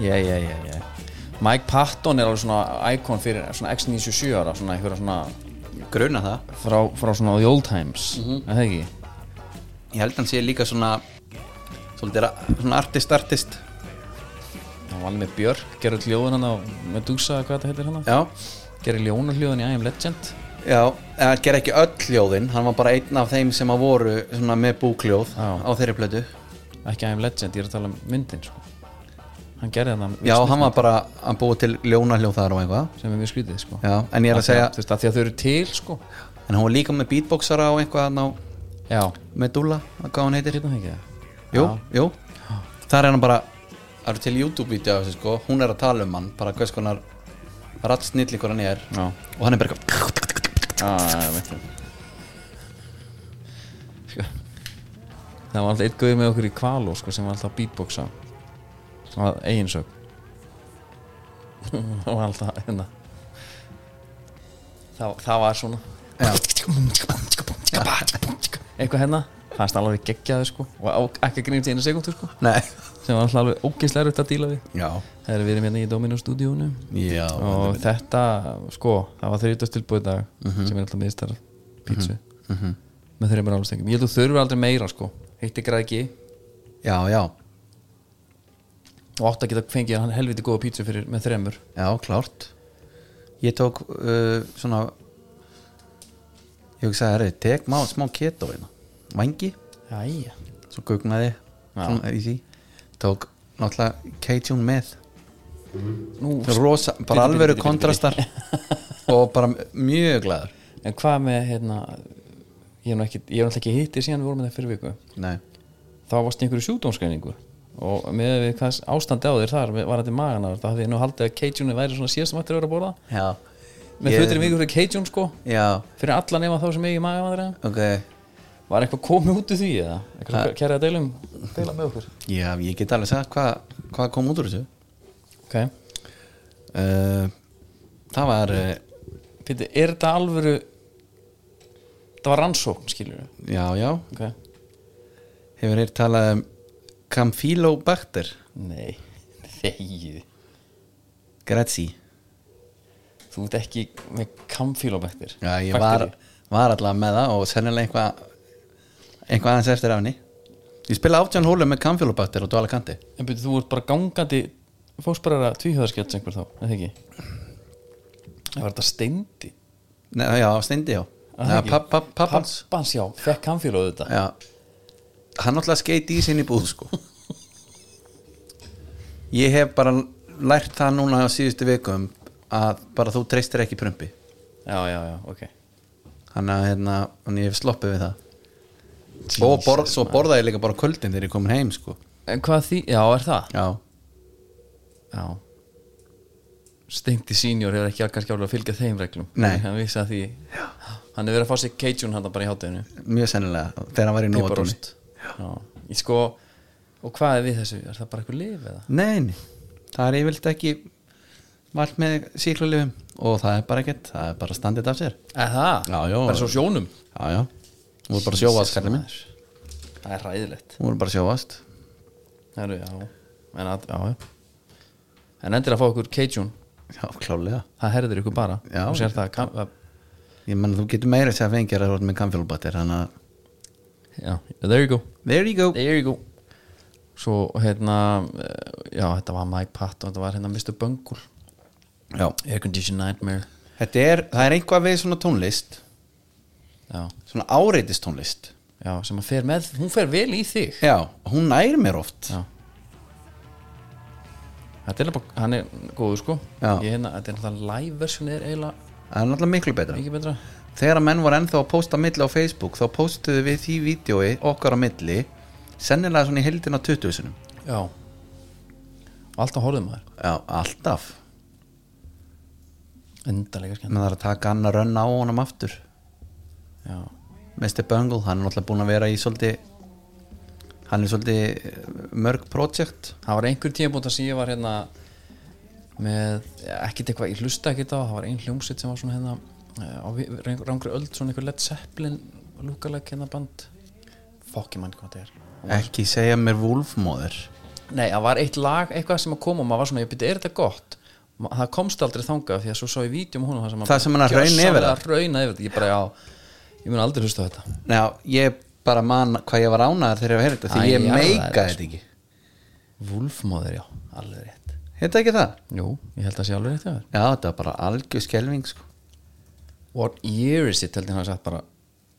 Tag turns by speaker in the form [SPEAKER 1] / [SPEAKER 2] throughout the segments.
[SPEAKER 1] yeah, yeah, yeah, yeah. Mike Patton er alveg svona íkon fyrir svona X97 ára svona einhverja svona
[SPEAKER 2] gruna það
[SPEAKER 1] frá, frá svona the old times er það ekki?
[SPEAKER 2] ég held hann sé líka svona svolítið ra- svona artist artist
[SPEAKER 1] hann var alveg með Björk, gerur hljóðun hann á með Dúsa, hvað þetta heitir hann
[SPEAKER 2] já,
[SPEAKER 1] gerir ljónarhljóðun í I Am Legend
[SPEAKER 2] já en hann ger ekki öll hljóðin hann var bara einn af þeim sem að voru svona með búkljóð
[SPEAKER 1] Já.
[SPEAKER 2] á þeirri plötu
[SPEAKER 1] ekki I Am Legend, ég er að tala um myndin sko. hann gerði hann
[SPEAKER 2] já, hann var bara að búa til ljónahljóð þar og eitthvað
[SPEAKER 1] sem er mjög skrítið sko.
[SPEAKER 2] já, en ég er að segja
[SPEAKER 1] þú veist að því að þau eru til sko.
[SPEAKER 2] en hann var líka með beatboxara og eitthvað hann á
[SPEAKER 1] já,
[SPEAKER 2] Medulla, hvað hann heitir
[SPEAKER 1] hérna það ekki það
[SPEAKER 2] Jú, jú Þar er hann bara Það eru til YouTube-vídeó af þessu sko Hún er að tala um hann Bara hvers konar Rattsnill ykkur hann er
[SPEAKER 1] já,
[SPEAKER 2] Og hann er bara eitthvað
[SPEAKER 1] já, já, veitum sko. það var alltaf einn gauð með okkur í Kvaló sko, sem var alltaf að beatboxa sem var eiginsög það var alltaf hérna það, það var svona eitthvað hérna fannst alveg geggjaði sko og á- ekki að grínast í einu sekundu sko
[SPEAKER 2] Nei
[SPEAKER 1] sem var alltaf alveg ógeðslega erfitt að díla við
[SPEAKER 2] Já
[SPEAKER 1] það er við erum hérna í Domino stúdíónu
[SPEAKER 2] Já
[SPEAKER 1] og þetta, sko, það var þrítast tilbúið dag sem er alltaf miðstar pítsu með þreymur álstengum ég held að þú þurfi aldrei meira, sko hitt ykkur að ekki
[SPEAKER 2] Já, já
[SPEAKER 1] og átt að geta fengið hann helviti góða pítsu fyrir með þreymur
[SPEAKER 2] Já, klárt Ég tók uh, svona Ég hugsaði herri Tek má, smá keto hérna Vangi
[SPEAKER 1] Jæja
[SPEAKER 2] Svo gugnaði
[SPEAKER 1] Já.
[SPEAKER 2] Svona í því Tók náttúrulega K-Tune með
[SPEAKER 1] Nú, Bíddu,
[SPEAKER 2] Rosa, bara
[SPEAKER 1] bíddu, bíddu,
[SPEAKER 2] alvöru
[SPEAKER 1] bíddu, bíddu.
[SPEAKER 2] kontrastar Og bara mjög glæður
[SPEAKER 1] en hvað með, hérna ég er nú ekki, ég er náttúrulega ekki hitti síðan við vorum með það fyrir viku
[SPEAKER 2] Nei
[SPEAKER 1] þá varst í einhverju sjúkdómsgreiningu og með við hvað ástandi á þér þar var þetta maganar, það hafði ég nú haldið að Cajun væri svona síðast mættir að vera að borða
[SPEAKER 2] Já
[SPEAKER 1] með
[SPEAKER 2] Ég-
[SPEAKER 1] fötur í viku fyrir Cajun, sko
[SPEAKER 2] Já,
[SPEAKER 1] fyrir alla nema þá sem eigi magavandræðum
[SPEAKER 2] ok
[SPEAKER 1] Var eitthvað komið út úr því eða? Eitthvað kæra að deilum? Deila um? með okkur
[SPEAKER 2] Já, ég get alveg sagt hvað hva kom út úr þessu
[SPEAKER 1] Ok
[SPEAKER 2] uh, Það var uh,
[SPEAKER 1] Pítur, er þetta alvöru Það var rannsókn, skilur við
[SPEAKER 2] Já, já
[SPEAKER 1] Ok
[SPEAKER 2] Hefur þér talað um Campylobacter
[SPEAKER 1] Nei, þegið
[SPEAKER 2] Grazi
[SPEAKER 1] Þú ert ekki með kamfílobektir
[SPEAKER 2] Já, ég var, var allavega með það og sennilega eitthvað eitthvað aðeins eftir af henni Ég spila átján hólu með Campylobacter og Dvala Kanti
[SPEAKER 1] En byrju, þú ert bara gangandi Fósbarara tvíhjóðarskjölds einhver þá Eða ekki Það var þetta steindi
[SPEAKER 2] Nei, já, steindi já
[SPEAKER 1] það ekki?
[SPEAKER 2] Pappans
[SPEAKER 1] Pappans, já, fekk kamfílóðu þetta
[SPEAKER 2] Já Hann náttúrulega skeiti í sinni búð sko Ég hef bara lært það núna á síðustu vikum að bara þú treystir ekki prumpi
[SPEAKER 1] Já, já, já, ok
[SPEAKER 2] Þannig að hérna, hann ég hef sloppið við það Og borð, svo borðaði ég líka bara á kvöldin þegar ég komin heim sko
[SPEAKER 1] En hvað því, já, er það?
[SPEAKER 2] Já,
[SPEAKER 1] Já Steindi senior hefur ekki kannski alveg að fylgja þeim reglum
[SPEAKER 2] Nei.
[SPEAKER 1] Hann vissi að því Já. Hann hefur verið að fá sér Cajun hann bara í hátæðinu
[SPEAKER 2] mjög sennilega þegar hann var í nóatóni
[SPEAKER 1] Pipparost Já Ég sko Og hvað er við þessu? Er það bara eitthvað lif eða?
[SPEAKER 2] Nei, nei, það er yfirleitt ekki vald með síklulifum og það er bara ekkert, það er bara standið af sér
[SPEAKER 1] Eða það?
[SPEAKER 2] Já, já.
[SPEAKER 1] Bara svo sjónum
[SPEAKER 2] Já, já, þú voru bara sjóast kallið minn,
[SPEAKER 1] Jesus, maður. Það er ræðilegt
[SPEAKER 2] þú voru bara sjóast
[SPEAKER 1] Það eru, já En að, já, já En endur að fá okkur Cajun
[SPEAKER 2] Já, klálega
[SPEAKER 1] Það herðir ykkur bara
[SPEAKER 2] Já.
[SPEAKER 1] Þú sér það kam, að,
[SPEAKER 2] Ég menn þú getur meira þess að fengja að rátt með kamfjólbatir Þannig að
[SPEAKER 1] Já, there you go
[SPEAKER 2] There you go
[SPEAKER 1] There you go Svo hérna eh, Já, þetta var Mike Patton Þetta var hérna Mr. Bungle
[SPEAKER 2] Já.
[SPEAKER 1] Aircondition Nightmare
[SPEAKER 2] Þetta er, það er einhvað við svona tónlist
[SPEAKER 1] Já,
[SPEAKER 2] Svona áreitis tónlist
[SPEAKER 1] já sem að fer með Hún fer vel í þig
[SPEAKER 2] Já, hún nær mér oft
[SPEAKER 1] Já Þetta er bara, hann er góður sko
[SPEAKER 2] Já.
[SPEAKER 1] Ég hérna, þetta er náttúrulega live version er eiginlega
[SPEAKER 2] Það er náttúrulega miklu betra
[SPEAKER 1] mikið betra
[SPEAKER 2] Þegar að menn voru ennþá að posta á milli á Facebook Þá postuðu við því vídjói okkar á milli Sennilega svona í heldina 20 sinum
[SPEAKER 1] Já Og alltaf horfðum maður
[SPEAKER 2] Já, alltaf
[SPEAKER 1] Endalega skemmt
[SPEAKER 2] Menn það er að taka annar rönn á honum aftur
[SPEAKER 1] Já,
[SPEAKER 2] Mr. Bungle, hann er náttúrulega búin að vera í svolítið Hann er svolítið eh, mörg project
[SPEAKER 1] það var einhver tímabúnt að sé ég var hérna með, ja, ekkert eitthvað, ég hlusta ekkert á það var ein hljómsitt sem var svona hérna eh, á vi- rang- rangri öld, svona einhver Led Zeppelin lúkaleg hérna band fokki mann hvað þetta er
[SPEAKER 2] Ekki segja mér Wolfmóður
[SPEAKER 1] Nei, það var eitt lag, eitthvað sem að koma og maður var svona, ég byrja, er þetta gott? Ma- Það komst aldrei þangað því að svo sá ég vídjum hún það sem,
[SPEAKER 2] Það sem hann að rauna yfir það.
[SPEAKER 1] rauna yfir það Ég bara, já, ég mun aldrei hlusta á þetta
[SPEAKER 2] Já, ég bara man hvað ég var ánæður þegar ég var að heyra þetta Því
[SPEAKER 1] Æ,
[SPEAKER 2] ég
[SPEAKER 1] jarðaði
[SPEAKER 2] meika
[SPEAKER 1] þetta,
[SPEAKER 2] þetta ekki
[SPEAKER 1] Wolfmóður, já, alveg rétt
[SPEAKER 2] Hérna ekki það?
[SPEAKER 1] Jú, ég held að sé alveg rétt hjá þér
[SPEAKER 2] Já, þetta var bara algjör skelving sko.
[SPEAKER 1] What year is it, held ég hann að sagt bara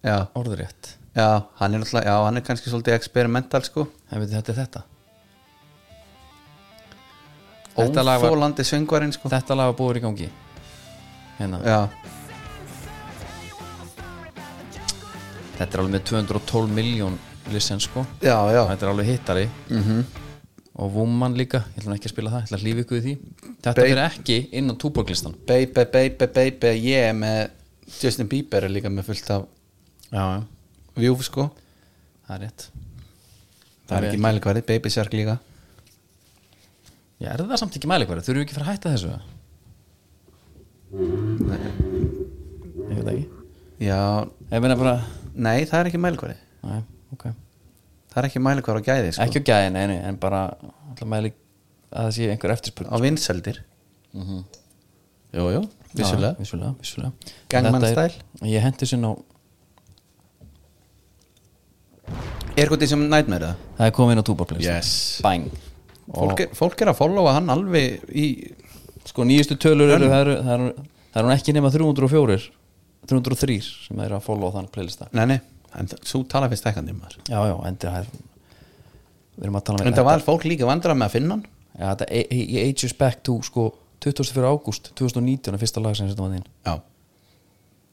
[SPEAKER 2] já,
[SPEAKER 1] orður rétt
[SPEAKER 2] já, hann er náttúrulega Já, hann er kannski svolítið experimental sko.
[SPEAKER 1] Það veitir þetta er þetta Þetta lag var,
[SPEAKER 2] Óþólandi söngvarinn sko.
[SPEAKER 1] þetta lag var búið í gangi Hérna,
[SPEAKER 2] Já,
[SPEAKER 1] þetta er alveg með 212 miljón listen sko
[SPEAKER 2] já, já
[SPEAKER 1] Þetta er alveg hittari -hmm.
[SPEAKER 2] Mhm.
[SPEAKER 1] Og Woman líka, ég ætlum ekki að spila það Ég ætla að hlýfa ykkur í því Þetta
[SPEAKER 2] Babe.
[SPEAKER 1] fyrir ekki innan túborglistan
[SPEAKER 2] Baby, baby, baby, ég er með Justin Bieber er líka með fullt af
[SPEAKER 1] Já, já,
[SPEAKER 2] vjúf sko
[SPEAKER 1] það er rétt
[SPEAKER 2] Það er ekki mælikvarið, Baby Shark líka
[SPEAKER 1] Já, er það samt ekki mælikværi? Þurfum við ekki að fara að hætta þessu? Nei Ég veit það ekki
[SPEAKER 2] Já,
[SPEAKER 1] Ég meina bara,
[SPEAKER 2] nei, það er ekki mælikvarið
[SPEAKER 1] næ, ok
[SPEAKER 2] Það er ekki mælikvarið á gæði sko.
[SPEAKER 1] Ekki á gæðin, einu, en bara Alltaf mæli að það sé einhver eftirspurn
[SPEAKER 2] Á vinseldir Jú, jú, Mhm. vissulega
[SPEAKER 1] Já, Vissulega, vissulega
[SPEAKER 2] Gangnam
[SPEAKER 1] Þetta er-
[SPEAKER 2] Style?
[SPEAKER 1] Ég hendi sér á
[SPEAKER 2] Er hvað því sem nightmare það?
[SPEAKER 1] Það er komið inn á túborglist
[SPEAKER 2] Yes.
[SPEAKER 1] Bang
[SPEAKER 2] Fólk er, fólk er að followa hann alveg í
[SPEAKER 1] Sko nýjustu tölur eru Það eru, það eru, það eru ekki nema 304 303 sem eru að follow þann playlista
[SPEAKER 2] Nei, nei, en það- svo tala fyrst ekkandi maður
[SPEAKER 1] Já, já, en það er Við erum að tala
[SPEAKER 2] En
[SPEAKER 1] með
[SPEAKER 2] það var fólk líka vandra með að finna hann
[SPEAKER 1] Já, þetta e- e- e- ages back to sko 24. ágúst 2019 er fyrsta lag sem þetta var þín
[SPEAKER 2] Já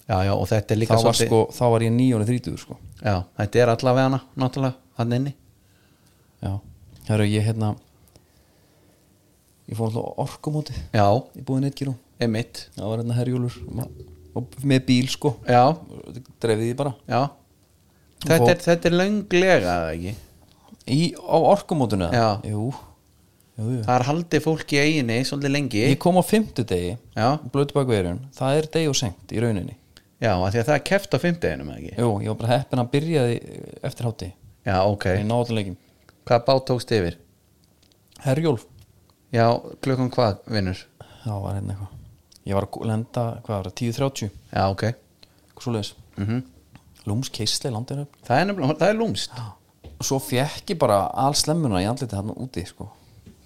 [SPEAKER 2] Já, já, og þetta er
[SPEAKER 1] þá
[SPEAKER 2] líka
[SPEAKER 1] var, sko, þá var ég nýjónu þrítugur sko
[SPEAKER 2] Já, þetta er allavega hana, náttúrulega, hann inni
[SPEAKER 1] Já, hér ég hérna Ég fór alltaf orkumóti
[SPEAKER 2] Já,
[SPEAKER 1] Ég búið netgíru
[SPEAKER 2] emitt
[SPEAKER 1] Það var hérna herjúlur og með bíl sko
[SPEAKER 2] Já,
[SPEAKER 1] dreifði því bara
[SPEAKER 2] já Þetta
[SPEAKER 1] Og-
[SPEAKER 2] er, þetta er lönglega, eða ekki
[SPEAKER 1] í, á orkumótuna
[SPEAKER 2] Já.
[SPEAKER 1] jú. Jú, jú.
[SPEAKER 2] Það er haldið fólk í eiginni svolítið lengi
[SPEAKER 1] ég kom á fimmtudegi
[SPEAKER 2] Já,
[SPEAKER 1] blötu bak verjun, það er deg og senkt í rauninni
[SPEAKER 2] já, af því að það er keft á fimmtudeginum, eða ekki
[SPEAKER 1] jú, ég var bara heppin að byrjaði eftir hátti
[SPEAKER 2] Já, ok,
[SPEAKER 1] okay. í náðanleikim,
[SPEAKER 2] hvað bát tókst yfir?
[SPEAKER 1] herjólf
[SPEAKER 2] Já, klukkan hvað, vinnur?
[SPEAKER 1] þá var hérna eitthvað ég var að lenda, hvað var það, 10.30
[SPEAKER 2] Já, ok
[SPEAKER 1] eitthvað svo leiðis,
[SPEAKER 2] mm
[SPEAKER 1] lúms keisli landinu
[SPEAKER 2] Það er nefnilega, það er lúmst
[SPEAKER 1] og svo fekk ég bara allslemmuna í andliti þarna úti sko.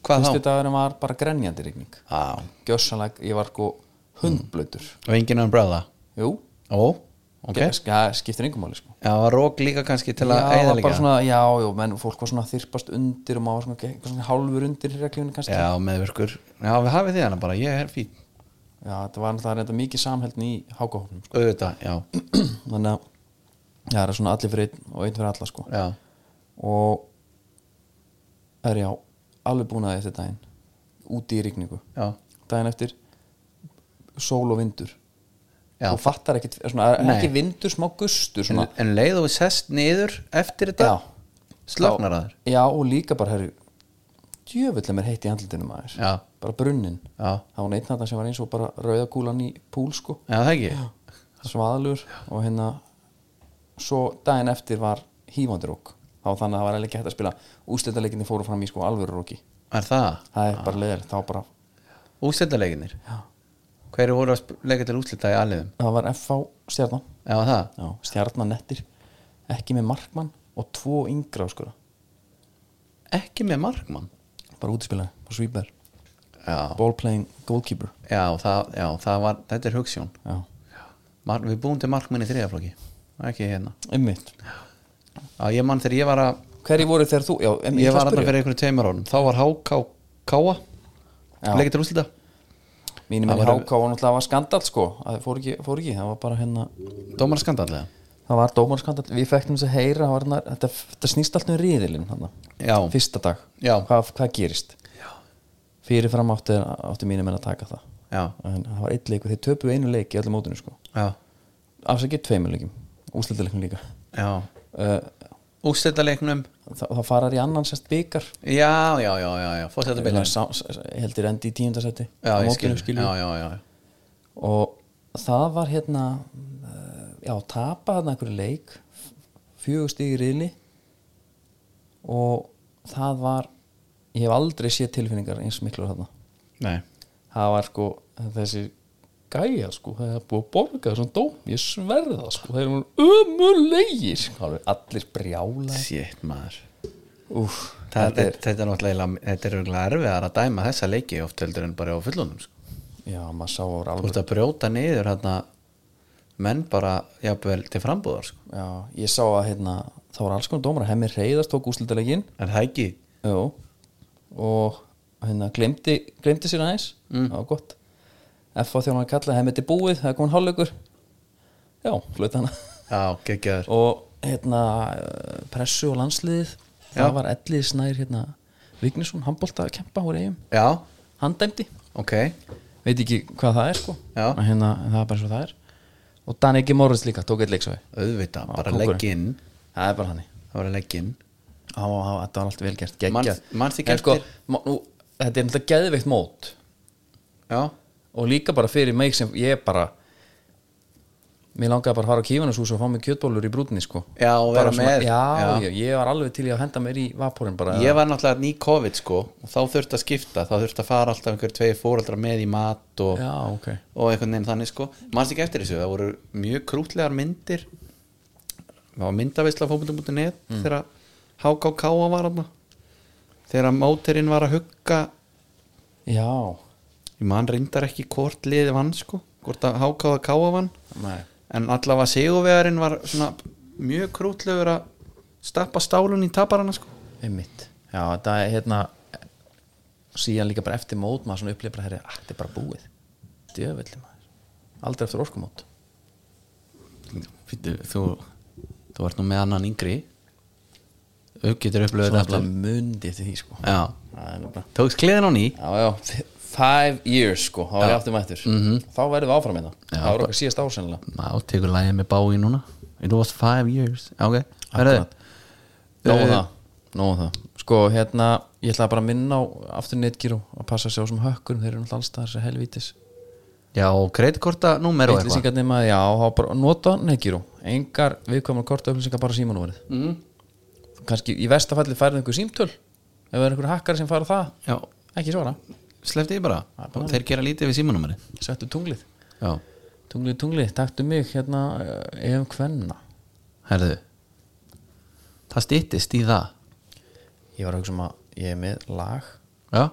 [SPEAKER 2] Hvað
[SPEAKER 1] fyrstu
[SPEAKER 2] þá?
[SPEAKER 1] dagurinn var bara grenjandi rigning
[SPEAKER 2] Já,
[SPEAKER 1] gjössanlega, ég var sko hundblötur
[SPEAKER 2] og engin umbrella
[SPEAKER 1] jú,
[SPEAKER 2] Ó, Mm. ok
[SPEAKER 1] okay. það skiptir engum máli sko
[SPEAKER 2] Já, það var rók líka kannski til að
[SPEAKER 1] Já,
[SPEAKER 2] eða
[SPEAKER 1] var
[SPEAKER 2] líka
[SPEAKER 1] bara svona, já, já, menn fólk var svona að þyrpast undir og maður var svona, ge- eitthvað svona hálfur undir reglunni kannski.
[SPEAKER 2] Já, meðvirkur Já, við hafið því hana bara, ég er fín
[SPEAKER 1] Já, þetta var náttúrulega reynda mikið samheldin í hákahóknum,
[SPEAKER 2] Auðvitað, já,
[SPEAKER 1] sko. Þannig að, já, það er svona allir fyrir einn og einn fyrir alla, sko.
[SPEAKER 2] já
[SPEAKER 1] Og, það er já, alveg búin að því eftir daginn, úti í rigningu.
[SPEAKER 2] Já,
[SPEAKER 1] Daginn eftir, sól og vindur.
[SPEAKER 2] Já.
[SPEAKER 1] Þú fattar ekki, svona, er
[SPEAKER 2] Nei.
[SPEAKER 1] ekki vindur, smá gustur,
[SPEAKER 2] en,
[SPEAKER 1] svona.
[SPEAKER 2] en leið og við sest niður eftir þetta
[SPEAKER 1] Já.
[SPEAKER 2] Slöknar að þér
[SPEAKER 1] Já, og líka bara, herru, djöfull er mér heitt í andlutinu maður.
[SPEAKER 2] Já.
[SPEAKER 1] Bara brunnin.
[SPEAKER 2] Já.
[SPEAKER 1] Það var neitt þetta sem var eins og bara rauðakúlan í púl, sko.
[SPEAKER 2] Já, það ekki
[SPEAKER 1] Svaðalur og hérna, svo daginn eftir var hífandi rók. Þá var þannig að það var eiginlega ekki hægt að spila. Úsleitaleginni fóru fram í sko alvöru róki.
[SPEAKER 2] Er það?
[SPEAKER 1] Það er bara leðilegt, þá bara,
[SPEAKER 2] Úsleitaleginir?
[SPEAKER 1] já.
[SPEAKER 2] Hverju voru að sp- leika til úslita í alliðum?
[SPEAKER 1] Það var FH stjarnan.
[SPEAKER 2] Já, það?
[SPEAKER 1] Já, stjarnan nettir. Ekki með markmann og tvo yngra, sko.
[SPEAKER 2] Ekki með markmann
[SPEAKER 1] Bara útispilaði, bara sweeper.
[SPEAKER 2] Já,
[SPEAKER 1] Ball playing goalkeeper.
[SPEAKER 2] já, það, já það var, þetta er hugssjón
[SPEAKER 1] Já,
[SPEAKER 2] Mar, Við búum til markmann í þriðaflokki Ekki hérna
[SPEAKER 1] einmitt.
[SPEAKER 2] Já, ég mann þegar ég var að
[SPEAKER 1] Hverji voru þegar þú, já, em,
[SPEAKER 2] Ég
[SPEAKER 1] ætla
[SPEAKER 2] var
[SPEAKER 1] að
[SPEAKER 2] þarna
[SPEAKER 1] spyrja.
[SPEAKER 2] fyrir einhverju tveimur árum Þá var HK Káa
[SPEAKER 1] Já.
[SPEAKER 2] Leikir til úslita
[SPEAKER 1] Mínum enn
[SPEAKER 2] Það voru-
[SPEAKER 1] háká var náttúrulega var skandall sko Það fór ekki, fór ekki, það var bara hérna
[SPEAKER 2] Dómar skandallega
[SPEAKER 1] Það var dómarskandall, við fæktum þess að heyra það var hérna, þetta, þetta snýst allt um riðilinn hann
[SPEAKER 2] Já,
[SPEAKER 1] Fyrsta dag,
[SPEAKER 2] Já.
[SPEAKER 1] Hvað, hvað gerist já. Fyrirfram áttu, áttu mínum enn að taka það
[SPEAKER 2] já,
[SPEAKER 1] en Það var einn leikur, þeir töpuðu einu leik í öllum mótunum sko
[SPEAKER 2] já,
[SPEAKER 1] Afsakið tveimur leikum, úsleitaleiknum líka
[SPEAKER 2] já.
[SPEAKER 1] uh,
[SPEAKER 2] Úslitaleiknum
[SPEAKER 1] það, það farar í annan sérst byggar
[SPEAKER 2] Já, já, já, já, já. Fórseta byrjun
[SPEAKER 1] Heldir endi í tíundasetti
[SPEAKER 2] Já, ég skil Já, já, já,
[SPEAKER 1] og það var hérna eh, já, tapa þarna einhverju leik fjögur stig í riðli og það var ég hef aldrei séð tilfinningar eins miklu þarna
[SPEAKER 2] Nei
[SPEAKER 1] það var sko þessi gæja sko, það er búið að borga þessum dóm, ég sverði það sko þeir eru umulegir sko, alveg allir brjála
[SPEAKER 2] Sétt maður
[SPEAKER 1] Úf,
[SPEAKER 2] Þetta er, þetta er náttúrulega þetta er örugglega erfiðar að dæma þessa leiki oft heldur en bara á fullunum sko.
[SPEAKER 1] já, maður sá ára
[SPEAKER 2] Þú
[SPEAKER 1] alveg
[SPEAKER 2] ert að brjóta niður hérna menn bara jafnvel til frambúðar sko.
[SPEAKER 1] já, ég sá að hérna, það voru alls konar dómar hemmi reyðast tók úslitalegin
[SPEAKER 2] Er það ekki?
[SPEAKER 1] og hérna, glemdi, glemdi sér aðeins mm. já, gott F.A. þjónar kallaði hemmi til búið, það er komin hálfleikur já, hluti hana
[SPEAKER 2] Já, geggjaður
[SPEAKER 1] og hérna eh, pressu og landsliðið það var ellið snær hérna Vignisson, handbólta að kempa úr eigum
[SPEAKER 2] Já,
[SPEAKER 1] hann dæmdi,
[SPEAKER 2] ok
[SPEAKER 1] veit ekki hvað það er sko
[SPEAKER 2] Já.
[SPEAKER 1] En hérna, en það er bara svo það er og Dan Egi Morris líka, tók eitt leiksvæði
[SPEAKER 2] Auðvitað,
[SPEAKER 1] Já,
[SPEAKER 2] bara
[SPEAKER 1] kóngurinn.
[SPEAKER 2] legg inn
[SPEAKER 1] það er bara hann
[SPEAKER 2] Það var að legg inn
[SPEAKER 1] þetta var allt vel gert,
[SPEAKER 2] Manst-
[SPEAKER 1] geggjað
[SPEAKER 2] manst ekki
[SPEAKER 1] En sko,
[SPEAKER 2] eftir-
[SPEAKER 1] ma- nú, þetta er náttúrulega geðveikt mót
[SPEAKER 2] Já,
[SPEAKER 1] og líka bara fyrir mig sem ég bara mér langaði bara að fara á kífanusús og fá mig kjötbólur í brúdni sko
[SPEAKER 2] Já, og
[SPEAKER 1] Bara
[SPEAKER 2] vera
[SPEAKER 1] svona-
[SPEAKER 2] með.
[SPEAKER 1] já,
[SPEAKER 2] Já.
[SPEAKER 1] Ég, ég var alveg til í að henda mér í vaporinn bara
[SPEAKER 2] ég var náttúrulega ný COVID sko og þá þurfti að skipta, þá þurfti að fara alltaf einhver tvei fóraldra með í mat og,
[SPEAKER 1] já, ok
[SPEAKER 2] og einhvern veginn þannig sko Manst ekki eftir þessu, það voru mjög krútlegar myndir Það var myndaveisla fókbundum.net mm. þegar HKK var hann þegar móterinn var að hugga
[SPEAKER 1] Já,
[SPEAKER 2] ég man reyndar ekki hvort liði vann sko hvort að HK að káa vann
[SPEAKER 1] nei
[SPEAKER 2] en allavega sigurvegarinn var svona mjög krútlegur að stappa stálun í taparana sko
[SPEAKER 1] Einmitt Já, þetta er hérna síðan líka bara eftir mót maður svona upplifra herri, að þetta er bara búið Djöfelli maður Aldrei eftir orkumót
[SPEAKER 2] Fyndu, þú, þú ert nú með annan yngri þú getur upplöðið
[SPEAKER 1] Svona
[SPEAKER 2] þetta
[SPEAKER 1] alltaf mundi eftir því sko
[SPEAKER 2] já,
[SPEAKER 1] Það er nú bara
[SPEAKER 2] tókst kliðin á ný
[SPEAKER 1] Já, já, five years sko þá er ég aftur mættur mm -hmm. þá verðum við áfram hérna
[SPEAKER 2] Já,
[SPEAKER 1] það var okkar síðast ásennlega
[SPEAKER 2] já, tekur lægið með bái núna it was five years Já, ok, verður
[SPEAKER 1] Akkurat. Nóðu
[SPEAKER 2] Eh,
[SPEAKER 1] um það, nóðu það Sko, hérna, ég ætla bara að minna á aftur netgíru að passa sig á sem hökkur þeir eru náttúrulega alls staðar þessi helvítis
[SPEAKER 2] já, kreditkorta númer og eitthvað
[SPEAKER 1] upplýsingarnir maður, já, þá bara nota nekiru, engar viðkvæmur korta upplýsingar bara símanúmerið mm.
[SPEAKER 2] Mhm.
[SPEAKER 1] kannski í versta falli færið einhver símtöl ef það er einhver hakkar sem fara það
[SPEAKER 2] já,
[SPEAKER 1] ekki svara,
[SPEAKER 2] slefti ég bara og þeir gera lítið við símanúmeri
[SPEAKER 1] settu tunglið
[SPEAKER 2] já,
[SPEAKER 1] tunglið, tunglið, taktu mig hérna eh, ef hvenna
[SPEAKER 2] herðu það stýttist í það
[SPEAKER 1] ég var að hugsa um að ég er með lag
[SPEAKER 2] já,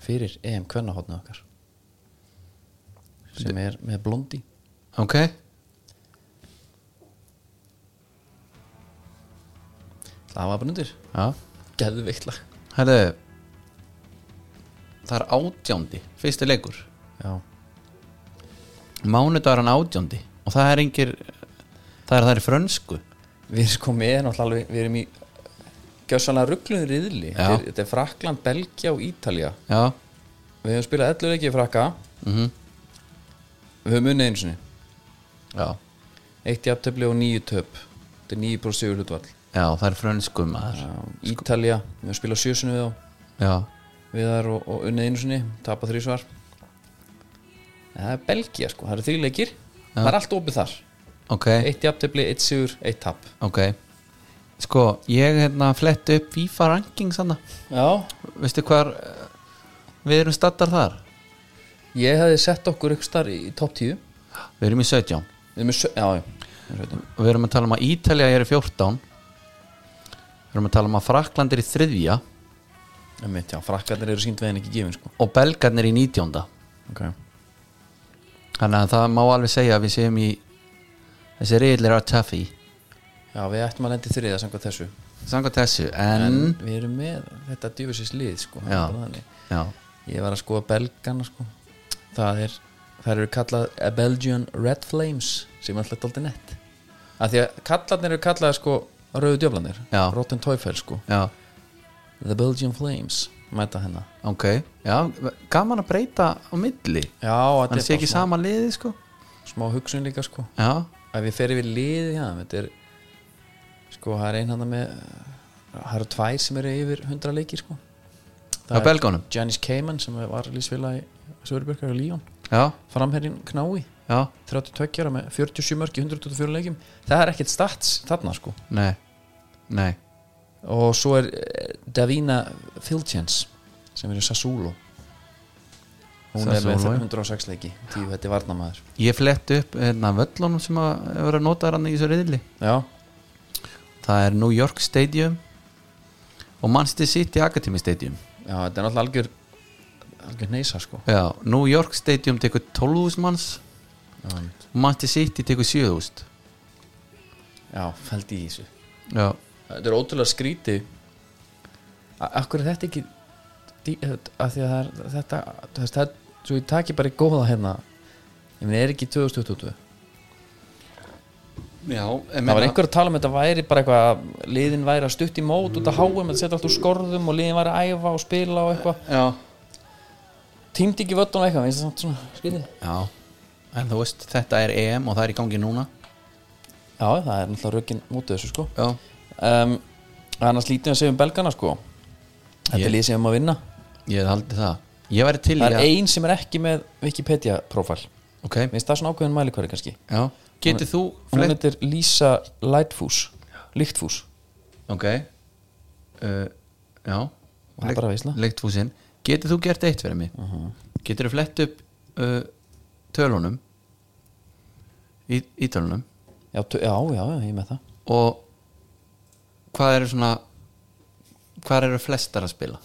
[SPEAKER 1] fyrir EM kvennahotnið okkar sem er með blondi
[SPEAKER 2] ok
[SPEAKER 1] það var bara undir,
[SPEAKER 2] já,
[SPEAKER 1] geðveikt lag
[SPEAKER 2] herðu það er átjándi fyrsti leikur
[SPEAKER 1] já,
[SPEAKER 2] mánudagur hann átjóndi og það er engir það er það er frönsku
[SPEAKER 1] við sko með náttúrulega alveg- við erum í gjössanlega ruggluður riðli
[SPEAKER 2] Já.
[SPEAKER 1] þetta er, þetta er Frakland, Belgia og Ítalja
[SPEAKER 2] já,
[SPEAKER 1] við höfum spilað 11 leikið frakka
[SPEAKER 2] mhm,
[SPEAKER 1] við höfum unnið einu sinni
[SPEAKER 2] já,
[SPEAKER 1] eitt í aftöfli og níu töp þetta er 9 brúr sigur hlutvall
[SPEAKER 2] já það er frönsku maður
[SPEAKER 1] Já, sko. Ítalja, við höfum spilað 7 sinni við þá
[SPEAKER 2] já,
[SPEAKER 1] við þar og, og unnið einu sinni tapað þrísvar En það er Belgia sko, það eru þrý leikir það er allt opið þar
[SPEAKER 2] ok,
[SPEAKER 1] eitt í aftöfli, eitt sigur, eitt tap
[SPEAKER 2] ok sko, ég hérna flett upp FIFA ranking sanna,
[SPEAKER 1] já,
[SPEAKER 2] veistu hvar eh, við erum stattar þar
[SPEAKER 1] ég hefði sett okkur ykkur starf í topp 10
[SPEAKER 2] við erum í 17
[SPEAKER 1] Við erum með sjö- já, já, já
[SPEAKER 2] og við erum að tala um að Ítalja er í 14 við erum að tala um að Frakland er í þriðja
[SPEAKER 1] Einmitt, já, frakkarnir eru sínd veginn ekki gefin sko.
[SPEAKER 2] og Belgarn er í 19
[SPEAKER 1] okay.
[SPEAKER 2] þannig að það má alveg segja að við séum í þessi reyðlir að taffi
[SPEAKER 1] Já, við ættum að lendi þriða samkvæmt þessu
[SPEAKER 2] Samkvæmt þessu, en,
[SPEAKER 1] Við erum með þetta djöfisins lið sko. það er
[SPEAKER 2] Mm. Já.
[SPEAKER 1] bara þannig.
[SPEAKER 2] Já,
[SPEAKER 1] Ég var að skoða belgana sko. Það er Það eru kallað eh, Belgian Red Flames sem er alltaf dálítið nett af því að kallarnir eru kallað sko rauðu djöflanir,
[SPEAKER 2] Já.
[SPEAKER 1] Rotten Teufel sko
[SPEAKER 2] já,
[SPEAKER 1] The Belgian Flames, mæta hérna. hennar
[SPEAKER 2] ok Já, gaman að breyta á milli
[SPEAKER 1] Já, þetta
[SPEAKER 2] Þannig sé
[SPEAKER 1] er
[SPEAKER 2] ekki
[SPEAKER 1] bara
[SPEAKER 2] sama liði, sko
[SPEAKER 1] smá, smá hugsun líka sko
[SPEAKER 2] Já,
[SPEAKER 1] að við ferum við liði hjá þeim þetta er sko það er einhanda með það eru tvær sem eru yfir 100 leikir sko
[SPEAKER 2] á
[SPEAKER 1] það er
[SPEAKER 2] belgónum
[SPEAKER 1] Janice Kamen sem var lífsfélagi Sörbjörgar og Líón
[SPEAKER 2] Já,
[SPEAKER 1] framherrin Knái
[SPEAKER 2] já,
[SPEAKER 1] 32 ára með 47 mörg í 124 leikjum það er ekkert stats þarna sko
[SPEAKER 2] nei Nei,
[SPEAKER 1] og svo er eh, Davina Filchens sem er í Sassulo hún er
[SPEAKER 2] Sassuolo,
[SPEAKER 1] með
[SPEAKER 2] já.
[SPEAKER 1] 106 leiki tíu þetta er varnamaður
[SPEAKER 2] Ég flett upp hérna, völlunum sem að vera notaðar hann í þessu reyðli
[SPEAKER 1] já,
[SPEAKER 2] Það er New York Stadium og Manchester City Academy Stadium
[SPEAKER 1] já, þetta er náttúrulega algjör algjör neysa sko
[SPEAKER 2] Já, New York Stadium tekur 12.000 manns
[SPEAKER 1] já,
[SPEAKER 2] og Manchester City tekur 7.000
[SPEAKER 1] já fældi í þessu
[SPEAKER 2] Já,
[SPEAKER 1] þetta er ótrúlega skríti akkur er þetta ekki dý- að því að það er þetta þú veist, það, svo ég taki bara í góða hérna ég meni er ekki 2022
[SPEAKER 2] Já
[SPEAKER 1] það var einhver að tala um þetta væri bara eitthvað að liðin væri að stutt í mót út að háum að setja allt úr skorðum og liðin væri að æfa og spila og eitthvað
[SPEAKER 2] Já,
[SPEAKER 1] tímdi ekki vötun og eitthvað finnst það samt svona skrítið
[SPEAKER 2] já En þú veist, þetta er EM og það er í gangi núna
[SPEAKER 1] já það er náttúrulega rökin mútið þessu sko
[SPEAKER 2] Já
[SPEAKER 1] um, annars lítið að segja um belgana sko þetta
[SPEAKER 2] Ég-
[SPEAKER 1] er lið sem um að vinna
[SPEAKER 2] Ég haldi það Ég væri til í
[SPEAKER 1] það er
[SPEAKER 2] að
[SPEAKER 1] ein sem er ekki með Wikipedia profil
[SPEAKER 2] Ok,
[SPEAKER 1] minnst það svona ákveðin mælikværi kannski
[SPEAKER 2] já Getið þú
[SPEAKER 1] hún
[SPEAKER 2] flett
[SPEAKER 1] heitir Lisa Lightfús Lightfús
[SPEAKER 2] Ok uh, Já
[SPEAKER 1] Það er bara veisla. Mhm.
[SPEAKER 2] Leikt fúsin Getið þú gert eitt fyrir mig uh Getur þú flett upp uh, tölunum í, í tölunum
[SPEAKER 1] já, tu- já, já, já, ég er með það
[SPEAKER 2] og hvað eru svona hvað eru flestar að spila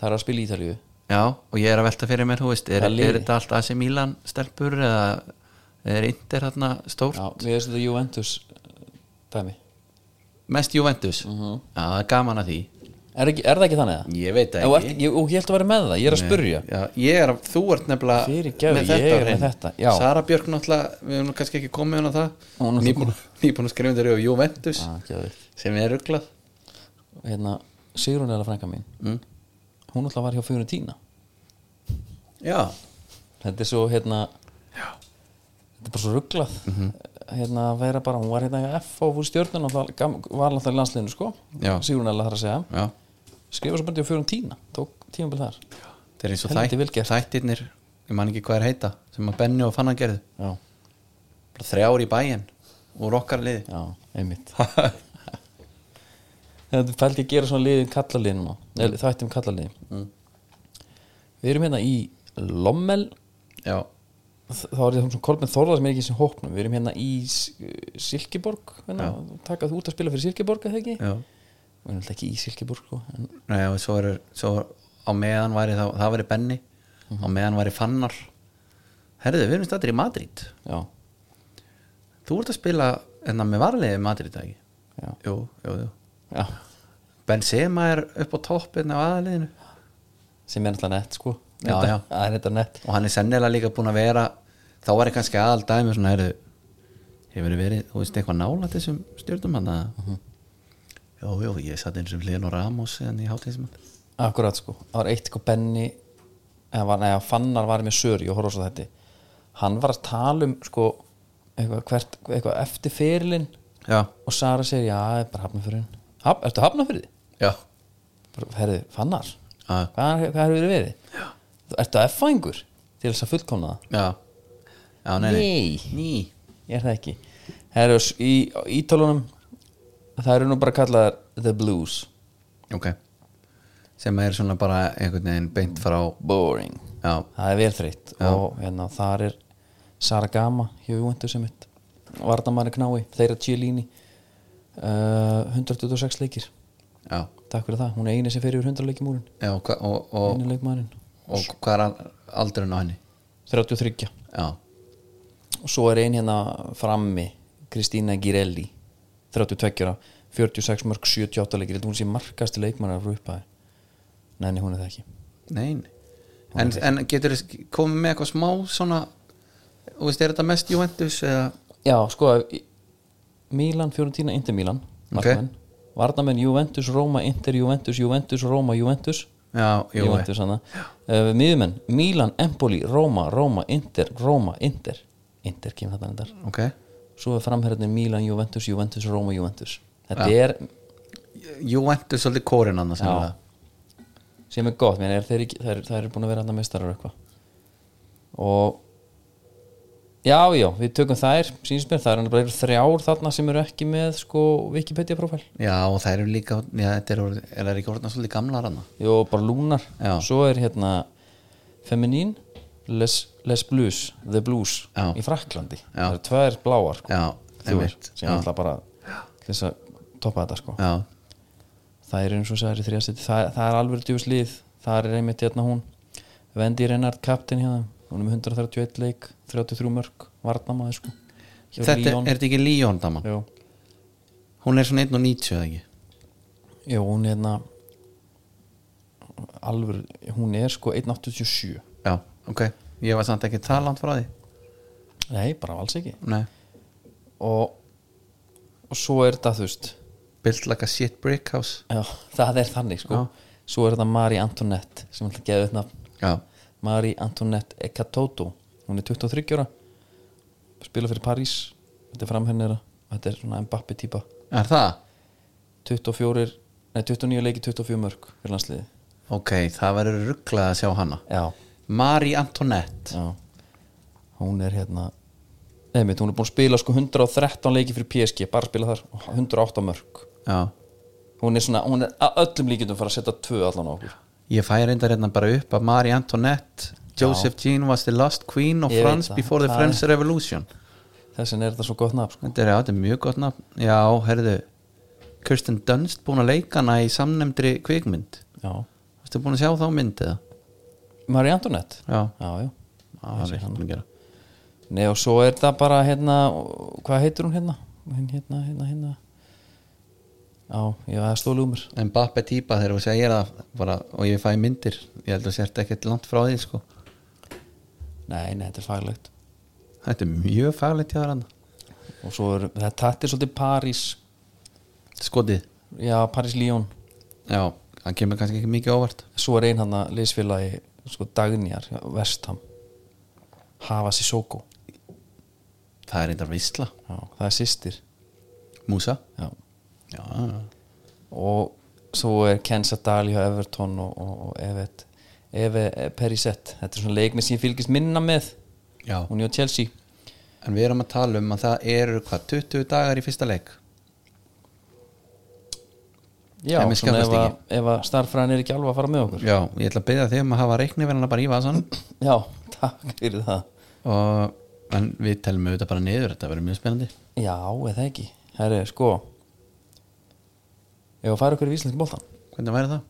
[SPEAKER 1] það er að spila í Ítalíu
[SPEAKER 2] já og ég er að velta fyrir mér þú veist er,
[SPEAKER 1] Hvaða liði?
[SPEAKER 2] er þetta allt AC Milan stelpur eða er Inter hérna stórt
[SPEAKER 1] já, við erum þetta Juventus eh, dæmi
[SPEAKER 2] mest Juventus
[SPEAKER 1] Mhm.
[SPEAKER 2] já það er gaman að því
[SPEAKER 1] er, ekki, er það ekki þannig það?
[SPEAKER 2] ég veit
[SPEAKER 1] Ég,
[SPEAKER 2] það
[SPEAKER 1] ert,
[SPEAKER 2] ekki
[SPEAKER 1] ég, og ég held að vera með það, ég er að spurja
[SPEAKER 2] já, ég er, að- þú ert nefnilega
[SPEAKER 1] Fyrirgefðu,
[SPEAKER 2] með
[SPEAKER 1] ég
[SPEAKER 2] þetta á
[SPEAKER 1] er með
[SPEAKER 2] hreinu.
[SPEAKER 1] þetta, já.
[SPEAKER 2] Sara Björk náttúrulega, við höfum nú kannski ekki komið hann
[SPEAKER 1] Hún
[SPEAKER 2] á
[SPEAKER 1] er náttúrulega
[SPEAKER 2] það nýbúin nýbúin að skrifa þetta á Juventus
[SPEAKER 1] Ah, geðveikt.
[SPEAKER 2] sem er rugglað
[SPEAKER 1] hérna, Sigrun er að frænka mín
[SPEAKER 2] mm.
[SPEAKER 1] hún alltaf var hjá Fiorentina
[SPEAKER 2] já,
[SPEAKER 1] þetta er svo hérna þetta er bara svo rugglað
[SPEAKER 2] Mhm.
[SPEAKER 1] hérna að vera bara, hún var hérna F og fór stjórnun og það gam- var alltaf í landsliðinu sko
[SPEAKER 2] Já.
[SPEAKER 1] Sigrun er að það að segja
[SPEAKER 2] já
[SPEAKER 1] skrifa svo bara til Fiorentina, tók tímabil þar
[SPEAKER 2] Það er eins og
[SPEAKER 1] Helviti vel
[SPEAKER 2] þætt,
[SPEAKER 1] gert.
[SPEAKER 2] þættirnir ég man ekki hvað er heita sem að Benni og Fanna gerðu
[SPEAKER 1] já,
[SPEAKER 2] bara þrjár í bæinn úr okkar liði
[SPEAKER 1] já, einmitt þetta fælt ég að gera svona um liðin kallaliðin núna, mm. þættum kallaliðin við erum hérna í Lommel
[SPEAKER 2] Já,
[SPEAKER 1] þá er það svona Kolben Þórða sem er ekki sem hópnum við erum hérna í S- uh, Silkeborg hérna, taka þú út að spila fyrir Silkeborg eða ekki
[SPEAKER 2] já
[SPEAKER 1] við erum alltaf ekki í Silkeborg sko, en,
[SPEAKER 2] Nei, og svo, er, svo á meðan væri þá, það væri Benni
[SPEAKER 1] Mhm.
[SPEAKER 2] á meðan væri Fannar Herðu, við erum stættir í Madrid
[SPEAKER 1] já,
[SPEAKER 2] Þú ert að spila enna með varliði í Madrid, eða ekki?
[SPEAKER 1] já,
[SPEAKER 2] Jú, jú, jú
[SPEAKER 1] já
[SPEAKER 2] Benzema er upp á toppin á aðaliðinu
[SPEAKER 1] sem er alltaf nett sko
[SPEAKER 2] Já,
[SPEAKER 1] Þetta-
[SPEAKER 2] já.
[SPEAKER 1] það er þetta nett
[SPEAKER 2] og hann er sennilega líka búin að vera þá var ég kannski aðal dæmi svona heyrðu, hefur verið, þú veist eitthvað nála þessum stjórnum hann að Mhm. jú, jú, ég satt eins og Leno Ramos en ég hátt þessum
[SPEAKER 1] Akkurat sko, það var eitt eitthvað Benny eða var, neða, Fannar var með Söri og horfði á þetta hann var að tala um sko eitthvað, hvert, eitthvað eftir fyrirlin
[SPEAKER 2] já,
[SPEAKER 1] og Sara segir, já, það er bara hafnafyririnn Haf, Ertu hafnafyrði?
[SPEAKER 2] já,
[SPEAKER 1] Herðu, Fannar,
[SPEAKER 2] já,
[SPEAKER 1] hvað, hvað hefur verið verið? Já. Ertu að F-fængur til þess að fullkomna það?
[SPEAKER 2] já, já nei, nei.
[SPEAKER 1] Nei,
[SPEAKER 2] ný
[SPEAKER 1] ég er það ekki Herðu, s- í ítalunum það eru nú bara kallaðar The Blues
[SPEAKER 2] ok, sem er svona bara einhvern veginn beint frá
[SPEAKER 1] Boring
[SPEAKER 2] já,
[SPEAKER 1] það er vel þreytt og hérna, þar er Sara Gama hjá Júventus sem mitt Vardamari Knái, þeirra Chiellini uh, 126 leikir
[SPEAKER 2] já,
[SPEAKER 1] takk fyrir það, hún er eini sem fyrir yfir 100 leikimúrin
[SPEAKER 2] já og, hva- og, og,
[SPEAKER 1] eini leikmærin,
[SPEAKER 2] og hvað er aldurinn á henni
[SPEAKER 1] 33
[SPEAKER 2] já,
[SPEAKER 1] og svo er ein hérna frammi Kristína Girelli 32 ára, 46 mörg 78 leikir, Ég held að hún sé markasti leikmærin af rúpaði, neini hún er það ekki
[SPEAKER 2] Nein en, en getur þið komið með eitthvað smá svona Þú veist, er þetta mest Juventus eða
[SPEAKER 1] Já, sko í- Milan, Fiorentina, Inter Milan Markmenn Varnamenn Juventus, Roma, Inter, Juventus, Juventus, Roma, Juventus
[SPEAKER 2] Já, jú,
[SPEAKER 1] Juventus hana uh, Miðumenn, Milan, Empoli, Roma, Roma, Inter, Roma, Inter Inter kemur þetta endar
[SPEAKER 2] ok
[SPEAKER 1] Svo er framherðin Milan, Juventus, Juventus, Roma, Juventus Þetta er
[SPEAKER 2] Juventus svolítið kórin annars
[SPEAKER 1] já,
[SPEAKER 2] já.
[SPEAKER 1] sem er gott menn er þeir, ekki- þeir, þeir eru búin að vera hann að mestarar eitthvað og já, já, við tökum þær sínsmér, það er bara þrjár þarna sem eru ekki með sko, Wikipedia prófæl
[SPEAKER 2] já og það eru líka já, þetta er, orðið- er það ekki orðna svolítið gamla ranna
[SPEAKER 1] Jó, bara lúnar
[SPEAKER 2] Já.
[SPEAKER 1] Svo er hérna Feminin Les, les Blues, The Blues
[SPEAKER 2] Já.
[SPEAKER 1] í Fraklandi
[SPEAKER 2] Já.
[SPEAKER 1] Það eru tvær bláar sko,
[SPEAKER 2] já,
[SPEAKER 1] þjóðir
[SPEAKER 2] einmitt.
[SPEAKER 1] sem
[SPEAKER 2] já,
[SPEAKER 1] alltaf bara til þess að toppa þetta sko.
[SPEAKER 2] já,
[SPEAKER 1] Það er eins og sagði þrjastið það, það er alveg djús lið Það er einmitt hérna hún Vendi Rennard Captain hérna Hún er með 131 leik, 33 mörg Varnamaði sko Hjá
[SPEAKER 2] þetta er
[SPEAKER 1] Lyon.
[SPEAKER 2] þetta ekki Líón daman
[SPEAKER 1] Jú.
[SPEAKER 2] hún er svona 1.90 eða ekki
[SPEAKER 1] Jú, hún er hérna alveg, hún er sko 187
[SPEAKER 2] já, ok, ég var samt ekki talant frá því
[SPEAKER 1] Nei, bara alls ekki
[SPEAKER 2] nei,
[SPEAKER 1] og, og svo er þetta þú veist
[SPEAKER 2] built like a shit brick house
[SPEAKER 1] já, það er þannig sko svo er þetta Marie Antoinette sem alltaf geði þetta nafn.
[SPEAKER 2] já,
[SPEAKER 1] Marie Antoinette Ekatoto hún er 23 ára spila fyrir París þetta er framhennera þetta er svona Mbappi típa
[SPEAKER 2] er það?
[SPEAKER 1] 24, nei 29 leiki 24 mörg fyrir landsliði
[SPEAKER 2] ok, það verður rugglað að sjá hana
[SPEAKER 1] já,
[SPEAKER 2] Marie Antoinette
[SPEAKER 1] já hún er hérna Nei, mitt, hún er búin að spila sko 113 leiki fyrir PSG, bara spila þar og 108 mörg
[SPEAKER 2] já,
[SPEAKER 1] hún er svona, hún er að öllum líkjöndum fara að setja tvö allan á okkur
[SPEAKER 2] ég fæ reyndar hérna bara upp að Marie Antoinette Joseph Jean was the last queen of
[SPEAKER 1] Ég veit
[SPEAKER 2] France
[SPEAKER 1] það.
[SPEAKER 2] before the
[SPEAKER 1] Það
[SPEAKER 2] French Revolution
[SPEAKER 1] þess vegna er þetta svo gott nafn sko.
[SPEAKER 2] þetta er, já, þetta er mjög gott nafn já, herðu, Kirsten Dunst búin að leika hana í samnefndri kvikmynd
[SPEAKER 1] já.
[SPEAKER 2] Þetta búin að sjá þá mynd eða?
[SPEAKER 1] Marie Antoinette
[SPEAKER 2] Já,
[SPEAKER 1] já, já
[SPEAKER 2] Já, það er eitthvað að gera
[SPEAKER 1] Nei, og svo er það bara hérna hvað heitir hún hérna Hinn, hérna, hérna, hérna já, já, það stólu um mér
[SPEAKER 2] En Bappe típa þegar þú segir það bara, og ég fæ myndir, ég held að sért ekkert langt frá því sko.
[SPEAKER 1] nei, nei, þetta er faglegt
[SPEAKER 2] Þetta er mjög faglegt hjá hérna. þar hann
[SPEAKER 1] og svo er, það tattir svolítið París
[SPEAKER 2] Skotið,
[SPEAKER 1] já, París-Líón
[SPEAKER 2] já, hann kemur kannski ekki mikið óvart
[SPEAKER 1] svo er ein hann að leysfélagi sko Dagnjar, Vestham Hafa Sissoko
[SPEAKER 2] Það er reyndar visla,
[SPEAKER 1] já, það er systir
[SPEAKER 2] Músa
[SPEAKER 1] já.
[SPEAKER 2] Já,
[SPEAKER 1] og svo er Kenza Dali og Everton og, og, og Evet Eve Perisett, þetta er svona leikmið sem ég fylgist minna með
[SPEAKER 2] já
[SPEAKER 1] hún er á Chelsea
[SPEAKER 2] En við erum að tala um að það eru hvað 20 dagar í fyrsta leik
[SPEAKER 1] Já,
[SPEAKER 2] En mér
[SPEAKER 1] svona ef
[SPEAKER 2] skjátlast
[SPEAKER 1] að, ef að starffræðin er ekki alveg að fara með okkur
[SPEAKER 2] Já, ég ætla að byrja þig um að hafa reikniverðana bara í vasan
[SPEAKER 1] Já, takk fyrir það
[SPEAKER 2] og en við telum auðvitað bara niður þetta verður mjög spennandi
[SPEAKER 1] Já, eða ekki, herri, sko Ef að fara okkur í Íslandsk boltan
[SPEAKER 2] Hvernig væri það?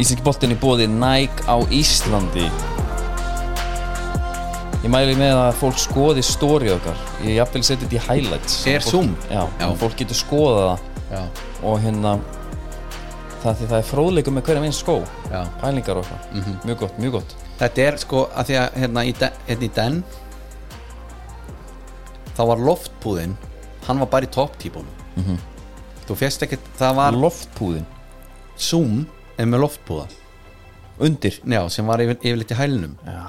[SPEAKER 1] Íslandsk boltin er bóði Nike á Íslandi Ég mæli með að fólk skoði stóri okkar Ég jafnvel seti þetta í highlights
[SPEAKER 2] Er
[SPEAKER 1] Fólk-
[SPEAKER 2] Zoom?
[SPEAKER 1] Já,
[SPEAKER 2] Já.
[SPEAKER 1] fólk getur skoðað það
[SPEAKER 2] Já,
[SPEAKER 1] og hérna það því það er fróðleikum með hverjum einn skó
[SPEAKER 2] já
[SPEAKER 1] pælingar og eitthvað, mjög gott, mjög gott
[SPEAKER 2] Þetta er sko að því að hérna í, de, hérna í den þá var loftpúðin hann var bara í topptípunum þú fjast ekkert, það var
[SPEAKER 1] loftpúðin,
[SPEAKER 2] Zoom en með loftpúða
[SPEAKER 1] undir
[SPEAKER 2] já, sem var yfir, yfirleitt í hælunum
[SPEAKER 1] já,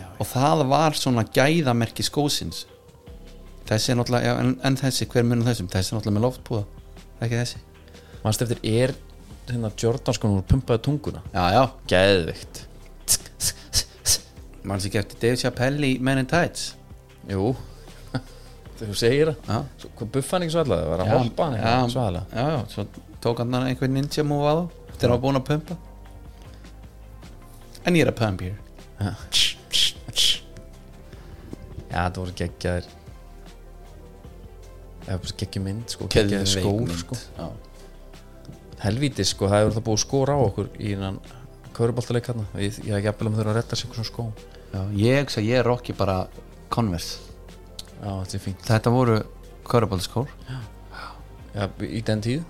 [SPEAKER 1] já,
[SPEAKER 2] og það var svona gæðamerki skósins þessi er náttúrulega, já, en, en þessi, hver munum þessum þessi er náttúrulega með loftpúða, ekki þessi
[SPEAKER 1] mannstu eftir er hérna Jordan sko hún var pumpaði tunguna
[SPEAKER 2] já, já,
[SPEAKER 1] geðvikt
[SPEAKER 2] mann sem gefti Dave Chappelle í Men in Tights
[SPEAKER 1] jú þú segir það
[SPEAKER 2] já,
[SPEAKER 1] Svo- hvað buffa hann ekki svaðlega, það var að hoppa hann
[SPEAKER 2] já,
[SPEAKER 1] ekki svaðlega
[SPEAKER 2] já, já, svo tók hann þarna einhver ninja move á þá þegar hann var búinn að pumpa en ég er að pump hér
[SPEAKER 1] já, það voru geggjaðir eða bara geggjum mynd sko,
[SPEAKER 2] Geðveik
[SPEAKER 1] geggjaðir skór
[SPEAKER 2] mynd.
[SPEAKER 1] sko.
[SPEAKER 2] já.
[SPEAKER 1] helvítið sko, það hefur það búið skór á okkur í hennan köruboltaleik hann ég ég hef ekki að byrja með þurfa að redda sér einhversum skó
[SPEAKER 2] Já, ég hugsa að ég rocki bara Converse
[SPEAKER 1] já, þetta er fínt
[SPEAKER 2] þetta voru körubaldaskór
[SPEAKER 1] já, í den tíð,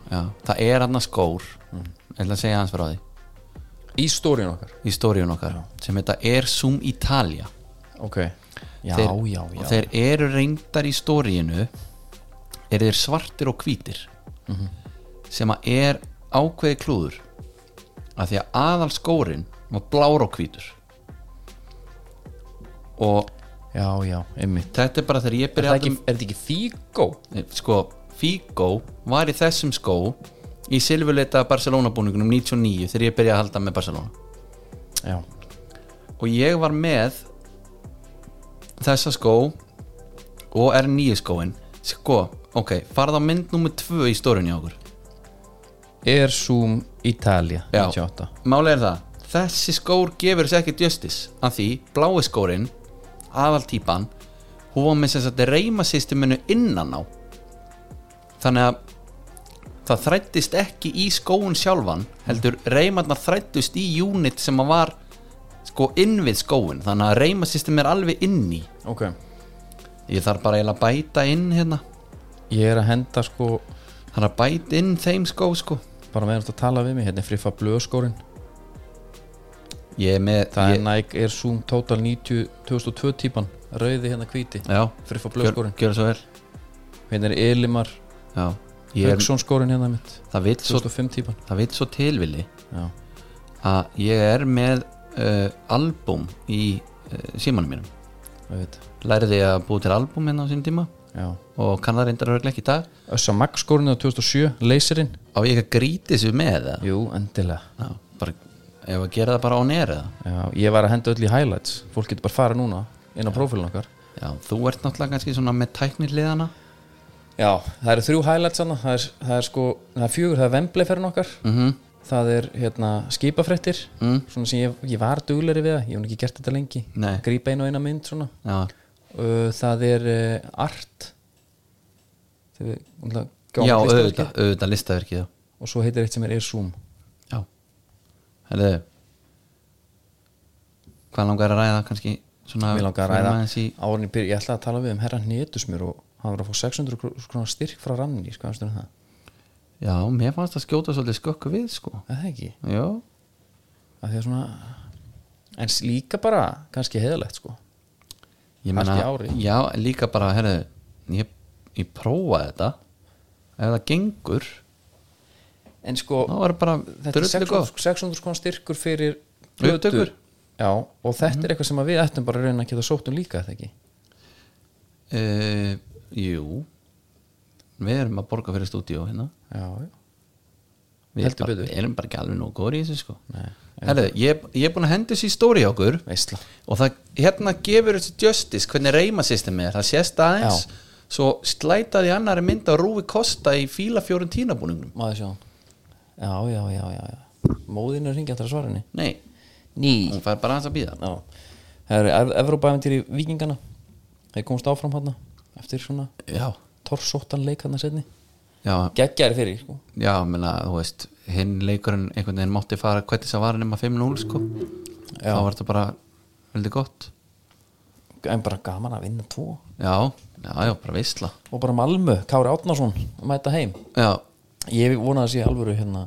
[SPEAKER 2] það er hann skór
[SPEAKER 1] Mm.
[SPEAKER 2] ég ætla að segja hans frá því
[SPEAKER 1] í stórin okkar
[SPEAKER 2] í stóriun okkar sem þetta er Zoom Italia
[SPEAKER 1] ok, já,
[SPEAKER 2] þeir,
[SPEAKER 1] já,
[SPEAKER 2] og
[SPEAKER 1] já
[SPEAKER 2] þeir eru reyndar í stóriinu eru þeir svartir og hvítir
[SPEAKER 1] Mhm.
[SPEAKER 2] sem að er ákveði klúður að því að aðal skórin var blár og hvítur og
[SPEAKER 1] já, já, einmitt
[SPEAKER 2] þetta er bara þegar ég Eh,
[SPEAKER 1] er
[SPEAKER 2] byrja
[SPEAKER 1] það ekki, er þetta ekki fígó?
[SPEAKER 2] sko, Figo var í þessum skó í silfurleita Barcelona búningunum 99 þegar ég byrjaði að halda með Barcelona
[SPEAKER 1] já,
[SPEAKER 2] og ég var með þessa skó og er nýju skóin sko, ok, farð á mynd nummer 2 í stórunni á okkur
[SPEAKER 1] Air Zoom Italia
[SPEAKER 2] Já.
[SPEAKER 1] 98
[SPEAKER 2] Máli er það, þessi skór gefur þess ekki justice af því blái skórin aðaltípan hún var með þess að reyma systeminu innan á þannig að það þrættist ekki í skóun sjálfan heldur reymarna þrættust í unit sem að var sko inn við skóun þannig að reyma system er alveg inn í
[SPEAKER 1] ok,
[SPEAKER 2] ég þarf bara eiginlega að bæta inn hérna
[SPEAKER 1] ég er að henda sko
[SPEAKER 2] þarf að bæta inn þeim skó sko
[SPEAKER 1] bara meðan þú ert að tala við mig, hérna er Friffa Blöskórin
[SPEAKER 2] ég er með
[SPEAKER 1] það
[SPEAKER 2] ég,
[SPEAKER 1] er Nike Air Zoom Total 90 2002 típan, rauði hérna hvíti
[SPEAKER 2] já,
[SPEAKER 1] Friffa
[SPEAKER 2] gjör,
[SPEAKER 1] Blöskórin,
[SPEAKER 2] gjör svo vel
[SPEAKER 1] hérna er Elimar
[SPEAKER 2] já, ég er,
[SPEAKER 1] Hauksson skórin hérna mitt
[SPEAKER 2] það vil svo
[SPEAKER 1] 2005 típan
[SPEAKER 2] það vil svo tilvili
[SPEAKER 1] já,
[SPEAKER 2] að ég er með uh, album í uh, símanum mínum
[SPEAKER 1] auðvitað,
[SPEAKER 2] læriði að búa til album hérna á sín tíma
[SPEAKER 1] já
[SPEAKER 2] og kann það reyndar örugglega ekki í dag
[SPEAKER 1] Össa Max skórin á 2007, Leyserinn
[SPEAKER 2] á ég ekki að gríti þessu með það
[SPEAKER 1] jú, endilega
[SPEAKER 2] Já, bara, ef að gera það bara á neri það
[SPEAKER 1] já, ég var að henda öll í highlights fólk getur bara fara núna inn á prófílun okkar
[SPEAKER 2] Já, þú ert náttúrulega kannski svona með tæknirliðana
[SPEAKER 1] já, það eru þrjú highlights hana það er, það er sko, það er fjögur, það er vembleiferin okkar
[SPEAKER 2] mm
[SPEAKER 1] það er hérna skipafréttir
[SPEAKER 2] Mm.
[SPEAKER 1] svona sem ég, ég var dugleri við það, ég hef nú ekki gert þetta lengi
[SPEAKER 2] Nei.
[SPEAKER 1] grípa einu og eina mynd svona
[SPEAKER 2] Já,
[SPEAKER 1] uh, það er uh, art Þegar við, náttúrulega, gáum
[SPEAKER 2] Já
[SPEAKER 1] listaverkið.
[SPEAKER 2] auðvitað, auðvitað listaverkið já.
[SPEAKER 1] og svo heitir eitt sem er Air Zoom
[SPEAKER 2] Já, herðu Hvað langar að ræða kannski svona
[SPEAKER 1] Mér langar að
[SPEAKER 2] förum
[SPEAKER 1] ræða
[SPEAKER 2] aðeins í,
[SPEAKER 1] árinni byrja, ég ætla að tala við um herra hnétusmur og hann var að fá 600 kr- krónar styrk frá ranni, sko, hann stundur það
[SPEAKER 2] Já, mér fannst að skjóta svolítið skökku við sko
[SPEAKER 1] Er það ekki,
[SPEAKER 2] Já,
[SPEAKER 1] af því að svona en s- líka bara, kannski heiðalegt sko
[SPEAKER 2] ég
[SPEAKER 1] Allt
[SPEAKER 2] meina,
[SPEAKER 1] í ári.
[SPEAKER 2] já, líka bara herðu, ég, ég prófa þetta ef það gengur
[SPEAKER 1] en sko,
[SPEAKER 2] þá er bara
[SPEAKER 1] þetta er sko.
[SPEAKER 2] drullu góð
[SPEAKER 1] 600, 600 krónar styrkur fyrir
[SPEAKER 2] Upptökur.
[SPEAKER 1] plötur. já, og þetta er eitthvað sem að við ættum bara að reyna að geta sótt um líka, er það ekki
[SPEAKER 2] uh, jú við erum að borga fyrir stúdíó hérna
[SPEAKER 1] já, já,
[SPEAKER 2] við
[SPEAKER 1] Heldur
[SPEAKER 2] bara,
[SPEAKER 1] betur.
[SPEAKER 2] erum bara ekki alveg nóg góður í þessu sko
[SPEAKER 1] Nei,
[SPEAKER 2] herðu, ég, ég er búin að henda þessi stóri á okkur
[SPEAKER 1] veistla
[SPEAKER 2] og það hérna gefur þessi justice hvernig reymasystemið er, það sést aðeins
[SPEAKER 1] Já.
[SPEAKER 2] svo slætaði annari mynd á rúi Kosta í fíla fjórun tínabúningum
[SPEAKER 1] maður sjá já, já, já, já, já. móðin er hringi að svara henni
[SPEAKER 2] nei,
[SPEAKER 1] ný
[SPEAKER 2] hún fær bara aðeins að býða
[SPEAKER 1] já, það eru Ev- Evrópa-eventíri vikingana þeir komast áfram hann eftir svona
[SPEAKER 2] já,
[SPEAKER 1] torsóttan leik hann að setni
[SPEAKER 2] já,
[SPEAKER 1] geggjæri fyrir, sko
[SPEAKER 2] Já, menna, þú veist, hinn leikurinn einhvern veginn mátti fara hvernig það var nema 5-0 sko
[SPEAKER 1] Já.
[SPEAKER 2] þá var þetta bara veldig gott
[SPEAKER 1] en bara gaman að vinna tvo
[SPEAKER 2] Já, já, já, bara veistla
[SPEAKER 1] og bara Malmö, Kári Átnason að mæta heim
[SPEAKER 2] Já,
[SPEAKER 1] ég vona að sé alvöru hérna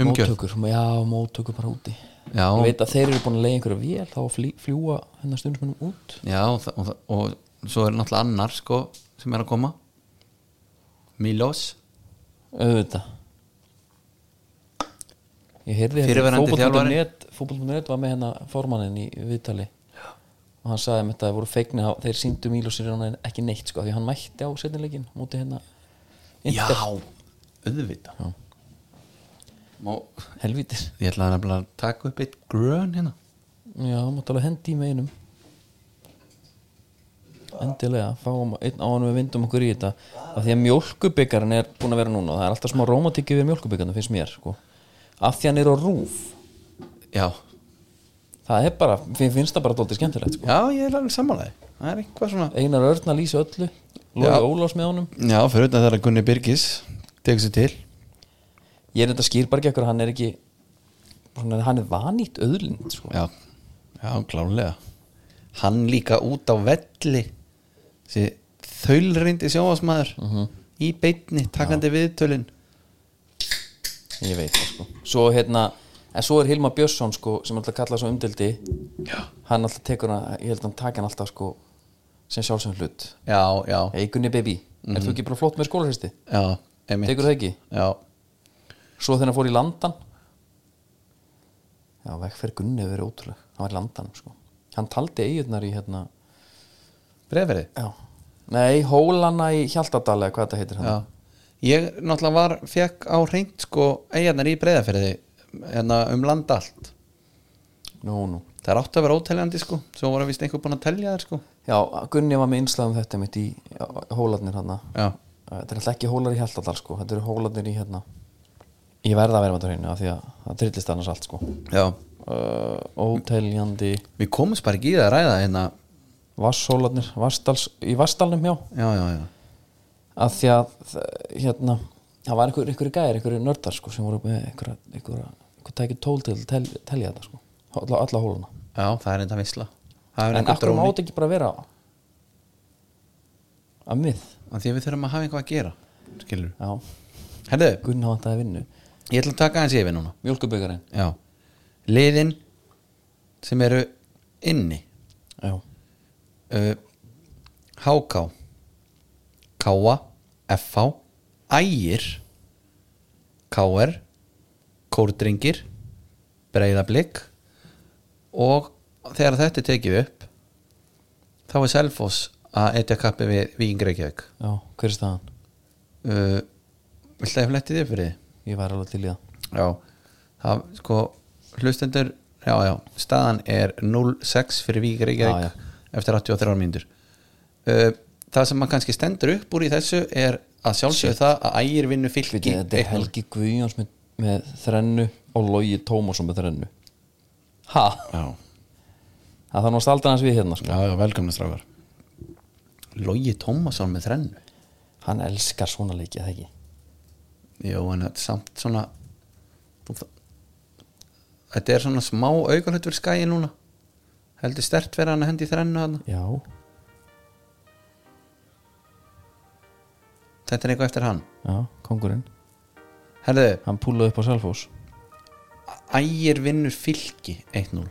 [SPEAKER 2] umgjörð
[SPEAKER 1] móttökur, já, móttökur bara úti
[SPEAKER 2] Já,
[SPEAKER 1] ég veit að þeir eru búin að leiða einhverja vél þá að flý, fljúa hennar stundismennum út
[SPEAKER 2] já og, það- og, það- og svo er náttúrulega annar sko sem er að koma Milos
[SPEAKER 1] auðvitað ég heyrði
[SPEAKER 2] Fyrirverandi þjálfari.
[SPEAKER 1] fótboll.net fótboll.net var með hennar formannin í viðtali já. og hann sagði með þetta að voru feikni þeir síndu Mílosir hann ekki neitt sko, af því hann mætti á setnileikin múti hérna Inter.
[SPEAKER 2] auðvita
[SPEAKER 1] Já.
[SPEAKER 2] Má,
[SPEAKER 1] helvítis
[SPEAKER 2] Ég ætlaði nefnilega að taka upp eitt grön hérna
[SPEAKER 1] já, mátt alveg hendi í með einum endilega fáum einn áðan við vindum okkur í þetta af því að mjólkubyggarinn er búin að vera núna og það er alltaf smá rómatík yfir mjólkubyggarinn finnst mér sko, af því hann er á rúf
[SPEAKER 2] Já,
[SPEAKER 1] það er bara, finn- finnst það bara dóltið skemmtilegt sko.
[SPEAKER 2] já, ég er alveg sammálaði Það er eitthvað svona
[SPEAKER 1] Einar Örn að lýsa öllu Lóði
[SPEAKER 2] Já.
[SPEAKER 1] Ólás með honum
[SPEAKER 2] Já, fyrir þetta það er að Gunni Birgis tekur sér til
[SPEAKER 1] Ég er þetta skýr bara ekki ekkur, hann er ekki svona, hann er vanýtt öðlind sko.
[SPEAKER 2] Já, já, klálega Hann líka út á velli þessi þaulrindi sjónvarsmaður í beitni, takandi viðtölin
[SPEAKER 1] Ég veit það sko Svo hérna, en svo er Hilma Björnsson sko sem alltaf kallað svo umdildi
[SPEAKER 2] Já,
[SPEAKER 1] hann alltaf tekur hann, ég held að hann taki hann alltaf sko sem sjálfsögn hlut
[SPEAKER 2] já, já,
[SPEAKER 1] Hey Gunni baby, mm ert þú ekki bara flott með skólarhristi?
[SPEAKER 2] já einmitt.
[SPEAKER 1] Tekur það ekki?
[SPEAKER 2] Já,
[SPEAKER 1] Svo þegar hann fór í landan Já, vegferð Gunni hefur verið ótrúleg hann var í landan sko Hann taldi eigurnar í hérna
[SPEAKER 2] breyfverið
[SPEAKER 1] Já. Nei, hólana í Hjaltadal eða hvað þetta heitir hérna. hann.
[SPEAKER 2] Já, ég náttúrulega var, fekk á hreint sko eigarnar í breyðaferði hérna um land allt
[SPEAKER 1] Nú, nú
[SPEAKER 2] það er átt að vera óteljandi sko svo var að vist einhver búin að telja þér sko
[SPEAKER 1] Já, Gunni var með innslag um þetta mitt í já, hólarnir hann
[SPEAKER 2] já,
[SPEAKER 1] Þetta er alltaf ekki hólar í Hjaltadal sko Þetta eru hólarnir í hérna Ég verða að vera með þetta hreinu af því að það trillist annars allt sko
[SPEAKER 2] já,
[SPEAKER 1] uh, Óteljandi
[SPEAKER 2] við komumst bara ekki í það að ræða hérna,
[SPEAKER 1] Vasshólarnir Vassdals, Í Vassdalnum já
[SPEAKER 2] já, já, já,
[SPEAKER 1] Af því að þ- hérna Það var einhver, einhver gæðir, einhver nördar sko sem voru með einhver, einhver, einhver tæki tól til að tel, telja þetta sko Alla, alla hóluna
[SPEAKER 2] já, það er enda visla það er
[SPEAKER 1] En
[SPEAKER 2] einhver
[SPEAKER 1] akkur
[SPEAKER 2] dróni,
[SPEAKER 1] mátt ekki bara vera að mið
[SPEAKER 2] af því að við þurfum að hafa eitthvað að gera skilur,
[SPEAKER 1] Já,
[SPEAKER 2] herðu,
[SPEAKER 1] Gunni vantaði vinnu
[SPEAKER 2] ég ætla að taka aðeins yfir núna
[SPEAKER 1] Mjölkubyggarinn
[SPEAKER 2] já, liðin sem eru inni
[SPEAKER 1] Já,
[SPEAKER 2] uh, HK KA FH Ægir KR Kórdringir Breiðablík og þegar þetta er tekið upp þá er Selfoss að etja kappi við Víking Reykjavík
[SPEAKER 1] já, hver er staðan?
[SPEAKER 2] uh, Viltu að ég fletti því fyrir því?
[SPEAKER 1] Ég var alveg til í það
[SPEAKER 2] Já, það sko hlustendur, já já staðan er 0-6 fyrir Vík
[SPEAKER 1] Já, já.
[SPEAKER 2] Reykjavík eftir 83 mínútur uh, Það sem maður kannski stendur upp úr í þessu er að sjálfsögðu það að ægir vinnu fylki
[SPEAKER 1] Vitið, Þetta er
[SPEAKER 2] 1-0.
[SPEAKER 1] Helgi Guðjóns með, með þrennu og Logi Tómasson með þrennu Ha?
[SPEAKER 2] Já,
[SPEAKER 1] Það þarf nú að stalda hans við hérna sko.
[SPEAKER 2] já, já velkomna strákar Logi Tómasson með þrennu
[SPEAKER 1] Hann elskar svona leiki, eða ekki?
[SPEAKER 2] Jó, en þetta er samt svona þú þa- Þetta er svona smá aukarlut fyrir skæi núna heldur stert verið hann að hendi í þrennu þarna
[SPEAKER 1] Já,
[SPEAKER 2] Þetta er eitthvað eftir hann
[SPEAKER 1] já, kongurinn
[SPEAKER 2] Herðu,
[SPEAKER 1] Hann púlaði upp á Selfos
[SPEAKER 2] ægir vinnur fylki 1-0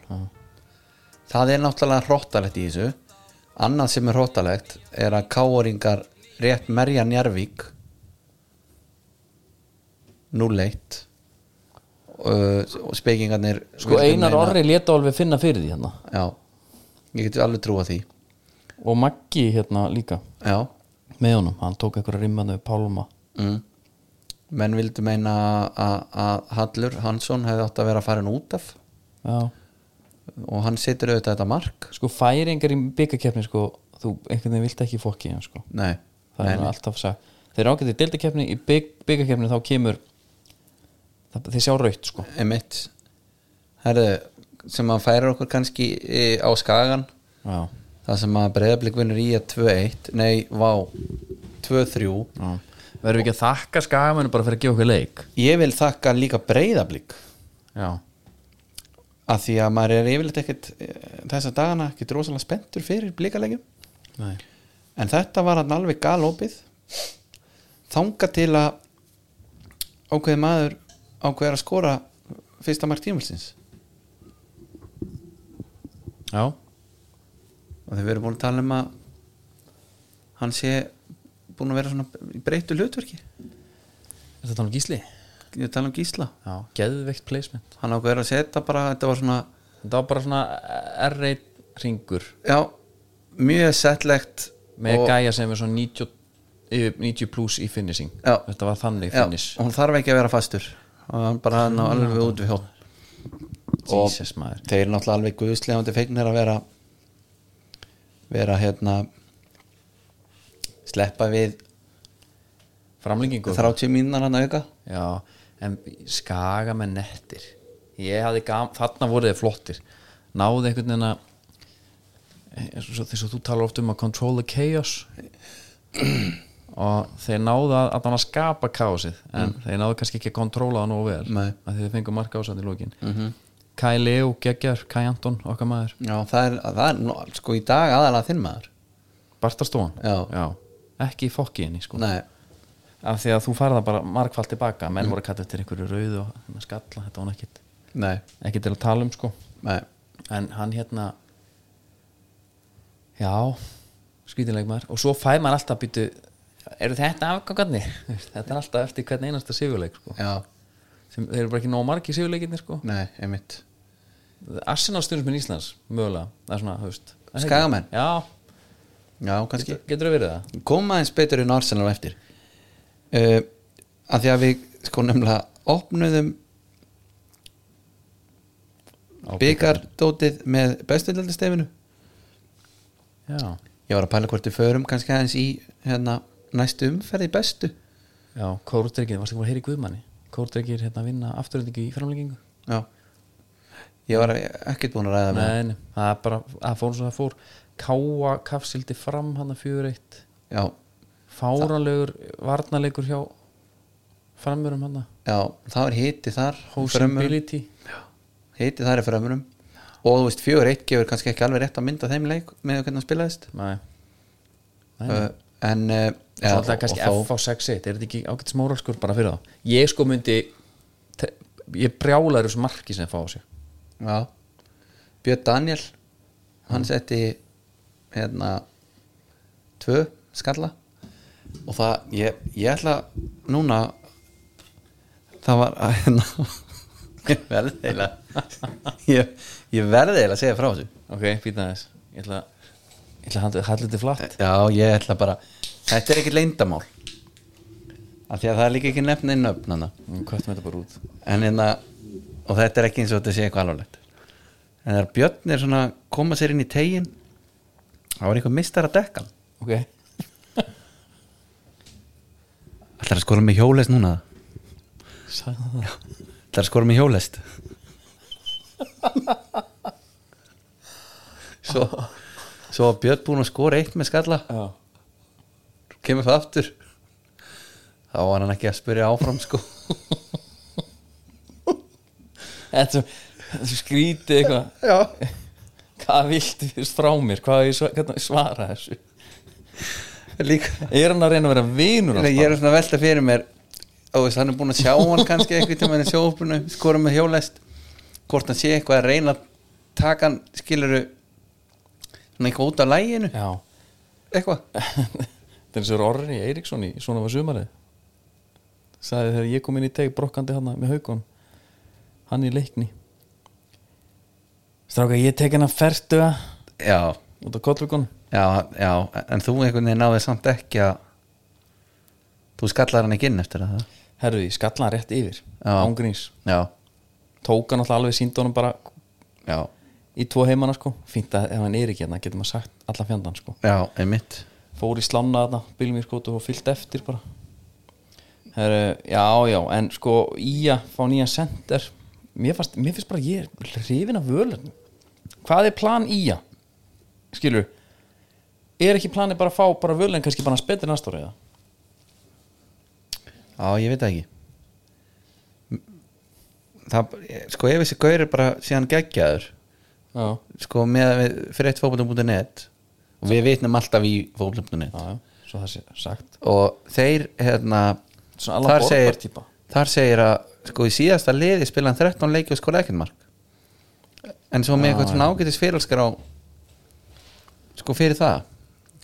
[SPEAKER 2] það er náttúrulega hróttalegt í þessu annað sem er hróttalegt er að káringar rétt merja Njarvík 0-1 Ö, Uh, og spekingarnir
[SPEAKER 1] Sko Einar Orri leta alveg finna fyrir því hérna
[SPEAKER 2] já, ég geti alveg trúa því
[SPEAKER 1] Og Maggi hérna líka
[SPEAKER 2] já,
[SPEAKER 1] með honum, hann tók eitthvað rimmandu við Pálma
[SPEAKER 2] mm. menn vildu meina að- að Hallur Hansson hefði átt að vera farin út af
[SPEAKER 1] Já,
[SPEAKER 2] og hann setur auðvitað þetta mark
[SPEAKER 1] sko færingar í byggakeppni sko, þú einhvern veginn vilt ekki fokki hann sko
[SPEAKER 2] nei,
[SPEAKER 1] það er alltaf sagt þeir eru ágætið deildakeppni í bygg, byggakeppni þá kemur það, þeir sjá raut sko
[SPEAKER 2] emitt herðu, sem að færa okkur kannski e, á skagan
[SPEAKER 1] já,
[SPEAKER 2] það sem að breyðablik vinnur í að 2-1 nei, vá 2-3,
[SPEAKER 1] já. verðum við ekki að þakka skagamennu bara fyrir að gefa okkur leik
[SPEAKER 2] ég vil þakka líka breyðablik
[SPEAKER 1] já,
[SPEAKER 2] að því að maður er yfirleitt ekkert e, þessa dagana ekkert rosalega spenntur fyrir blikaleggjum
[SPEAKER 1] nei
[SPEAKER 2] en þetta var hann alveg galopið þanga til að ákveði maður ákveði að skora fyrsta mark tímulsins
[SPEAKER 1] já,
[SPEAKER 2] og þegar við erum búin að tala um að hann sé búin að vera svona í breyttu hlutverki
[SPEAKER 1] er þetta hann gísli?
[SPEAKER 2] ég tala um Gísla
[SPEAKER 1] já, geðveikt placement
[SPEAKER 2] hann ákveður að setja bara, þetta var svona
[SPEAKER 1] þetta var bara svona eh, R1 ringur
[SPEAKER 2] já, mjög settlegt
[SPEAKER 1] með
[SPEAKER 2] og,
[SPEAKER 1] gæja sem er svona 90, yfir 90 plus í finishing
[SPEAKER 2] Já.
[SPEAKER 1] þetta var þannig
[SPEAKER 2] já,
[SPEAKER 1] finish Ah.
[SPEAKER 2] og hann þarf ekki að vera fastur og hann bara hann á alveg út við hjón og
[SPEAKER 1] Jesus maður
[SPEAKER 2] þeir eru náttúrulega alveg guðslegandi feignir að vera vera hérna sleppa við
[SPEAKER 1] framlengingu
[SPEAKER 2] 30 mínar hann auka
[SPEAKER 1] Já, en skaga með nettir Ég hafði gam, þarna voru þeir flottir Náði einhvern veginn að eins og svo- þess að þú talar oft um að control the chaos og þeir náðu að, að að skapa kaosið en þeir náðu kannski ekki að kontróla það nógu vel
[SPEAKER 2] Mm. Nei. Mhm.
[SPEAKER 1] að þeir fengu marka ásætt í lókin mm -hmm. Kai Leo, Geggar, Kai Anton okkar maður,
[SPEAKER 2] já, það er, það er nú- sko í dag aðalega þinn maður
[SPEAKER 1] Bartastóan
[SPEAKER 2] Já.
[SPEAKER 1] ekki í fokki henni sko
[SPEAKER 2] nei,
[SPEAKER 1] af því að þú farða bara markfald tilbaka
[SPEAKER 2] Mm.
[SPEAKER 1] menn voru að kalla eftir einhverju rauðu og hérna, skalla, þetta var ekkit,
[SPEAKER 2] nei,
[SPEAKER 1] ekkit til að tala um sko
[SPEAKER 2] nei
[SPEAKER 1] en hann hérna já skrítinleik maður og svo fæ maður alltaf býtu eru þetta afgangarnir þetta er alltaf eftir hvern einasta sigurleik sko.
[SPEAKER 2] já,
[SPEAKER 1] sem þeir eru bara ekki nóg margi sigurleikinni sko.
[SPEAKER 2] nei, einmitt
[SPEAKER 1] Arsenal stjórnismin Íslands mögulega, það er svona höst
[SPEAKER 2] Skagamenn?
[SPEAKER 1] já,
[SPEAKER 2] já, kannski
[SPEAKER 1] getur, getur verið það
[SPEAKER 2] koma aðeins betur en Arsenal á eftir uh, að því að við sko nefnilega opnuðum
[SPEAKER 1] Á
[SPEAKER 2] byggardótið með bestundaldistefinu
[SPEAKER 1] Já,
[SPEAKER 2] ég var að pæla hvort við förum kannski aðeins í hérna, næstu umferði bestu
[SPEAKER 1] já, kórdrykkið, varstu ekki búin að heyri Guðmanni Kórdrykkið er hérna að vinna afturöndingu í framlengingu
[SPEAKER 2] já ég var ekkert búin að ræða með
[SPEAKER 1] Nei, nei, það er bara, það fór eins og það fór Káa kafsildi fram hann að fjögur eitt
[SPEAKER 2] já,
[SPEAKER 1] Fáralegur, varnalegur hjá Framverum hann
[SPEAKER 2] já, það var hiti þar frömmurum,
[SPEAKER 1] Hoseability
[SPEAKER 2] hiti þar er frömmurum og þú veist, fjögur eitt gefur kannski ekki alveg rétt að mynda þeim leik með hvernig hann spilaðist
[SPEAKER 1] Nei, nei, nei.
[SPEAKER 2] uh, en uh,
[SPEAKER 1] Já, það er kannski F á 6-1 er þetta ekki ágætt smóralskur bara fyrir þá ég sko myndi te- ég brjálar þessu marki sem þeir fá á sig
[SPEAKER 2] Já Björn Daniel hann setti hérna tvö skalla og það, ég, ég ætla núna það var að hérna ég verði eiginlega ég, ég verði eiginlega að segja frá þessu
[SPEAKER 1] ok, fýta þess ég ætla, ég ætla að handla þetta flatt
[SPEAKER 2] Já, ég ætla bara þetta er ekkert leyndamál af því að það er líka ekki nefn inn öfn hana
[SPEAKER 1] hvað er þetta bara út
[SPEAKER 2] en hérna og þetta er ekki eins og þetta sé eitthvað alvarlegt en þegar Björn er svona að koma sér inn í tegin þá var eitthvað mistar að dekka hann.
[SPEAKER 1] ok,
[SPEAKER 2] ætlar að skora með hjólest núna
[SPEAKER 1] sagði það
[SPEAKER 2] ætlar að skora með hjólest svo svo var Björn búinn að skora eitt með skalla
[SPEAKER 1] já,
[SPEAKER 2] kemur það aftur þá var hann ekki að spyrja áfram sko
[SPEAKER 1] þetta er svo- þetta er svo skrítið eitthvað
[SPEAKER 2] já
[SPEAKER 1] hvað viltu þess frá mér, hvað á ég sva- hvernig á ég að svara þessu
[SPEAKER 2] líka
[SPEAKER 1] er hann að reyna að vera vinur
[SPEAKER 2] Nei,
[SPEAKER 1] hans
[SPEAKER 2] ég er svona að velta fyrir mér og þess að hann er búin að sjá hann kannski eitthvað tíma í sjófbunu, skora með hjólest hvort hann sé eitthvað að reyna að taka hann, skiluru svona eitthvað út af læginu
[SPEAKER 1] bara? já,
[SPEAKER 2] eitthvað,
[SPEAKER 1] þetta er eins og Orri Eiríksson í svona var sumarið sagði þegar ég kom inn í teg brokkandi hann með haukon hann í leikni stráka ég tek hann að ferstuga
[SPEAKER 2] já,
[SPEAKER 1] út af kollvíkon
[SPEAKER 2] já, já en þú einhvern veginn náði samt ekki að þú skallar hann ekki inn eftir það
[SPEAKER 1] herruði, ég skalla hann rétt yfir
[SPEAKER 2] Já.
[SPEAKER 1] ángríns,
[SPEAKER 2] já,
[SPEAKER 1] tók hann alltaf alveg síndónum bara
[SPEAKER 2] já,
[SPEAKER 1] í tvo heimana sko fínt að ef hann er ekki hérna getur maður sagt alla fjandann sko
[SPEAKER 2] já, einmitt
[SPEAKER 1] fór í slána þarna, bílum í skotu og fyllt eftir bara Heru, já, já, en sko í að fá nýja sender mér, fast, mér finnst bara ég er hrifin af völun hvað er plan í að skilur er ekki planið bara að fá bara völun kannski bara spettir næsta ára eða
[SPEAKER 2] Já, ég veit það ekki það, sko ef þessi gaur er bara síðan geggjaður
[SPEAKER 1] já,
[SPEAKER 2] sko með að við- fyrir eitt fókbaltum.net og við vitnum alltaf í fókbaltum.net
[SPEAKER 1] já, já, svo það sé sagt
[SPEAKER 2] og þeir hérna
[SPEAKER 1] Svona alla
[SPEAKER 2] þar segir,
[SPEAKER 1] borgartýpa.
[SPEAKER 2] þar segir að sko í síðasta liði spila hann 13 leiki og skora ekkert mark en svo með eitthvað svona ágætis fyrirskar á sko fyrir það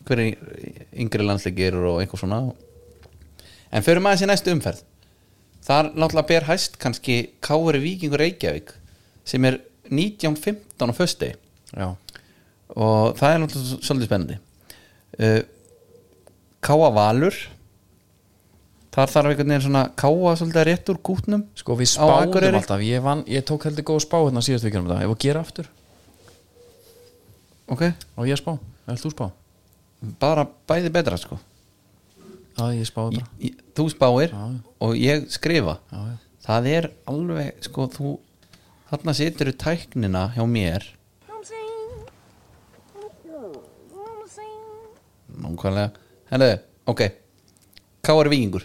[SPEAKER 2] hverju yngri landsleikir og eitthvað svona en fyrir maður sér næstu umferð þar náttúrulega ber hæst kannski Kári Víkingur Reykjavík sem er 19.15 á fösti
[SPEAKER 1] já,
[SPEAKER 2] og það er náttúrulega svolítið spennandi uh, Káa Valur þar þarf einhvern veginn svona Káa svolítið rétt úr kútnum
[SPEAKER 1] sko við
[SPEAKER 2] Á
[SPEAKER 1] spáðum
[SPEAKER 2] Akureyri.
[SPEAKER 1] alltaf ég, vann, ég tók heldur góð spá hérna síðast vikið um þetta ég var að gera aftur
[SPEAKER 2] ok,
[SPEAKER 1] og ég að spá, eða þú spá
[SPEAKER 2] bara bæði betra sko
[SPEAKER 1] já, ég spáði bara
[SPEAKER 2] Í- þú spáir
[SPEAKER 1] Já.
[SPEAKER 2] og ég skrifa
[SPEAKER 1] já, já.
[SPEAKER 2] það er alveg sko þú þarna situr í tæknina hjá mér nákvæmlega, henni, ok Káar Víkingur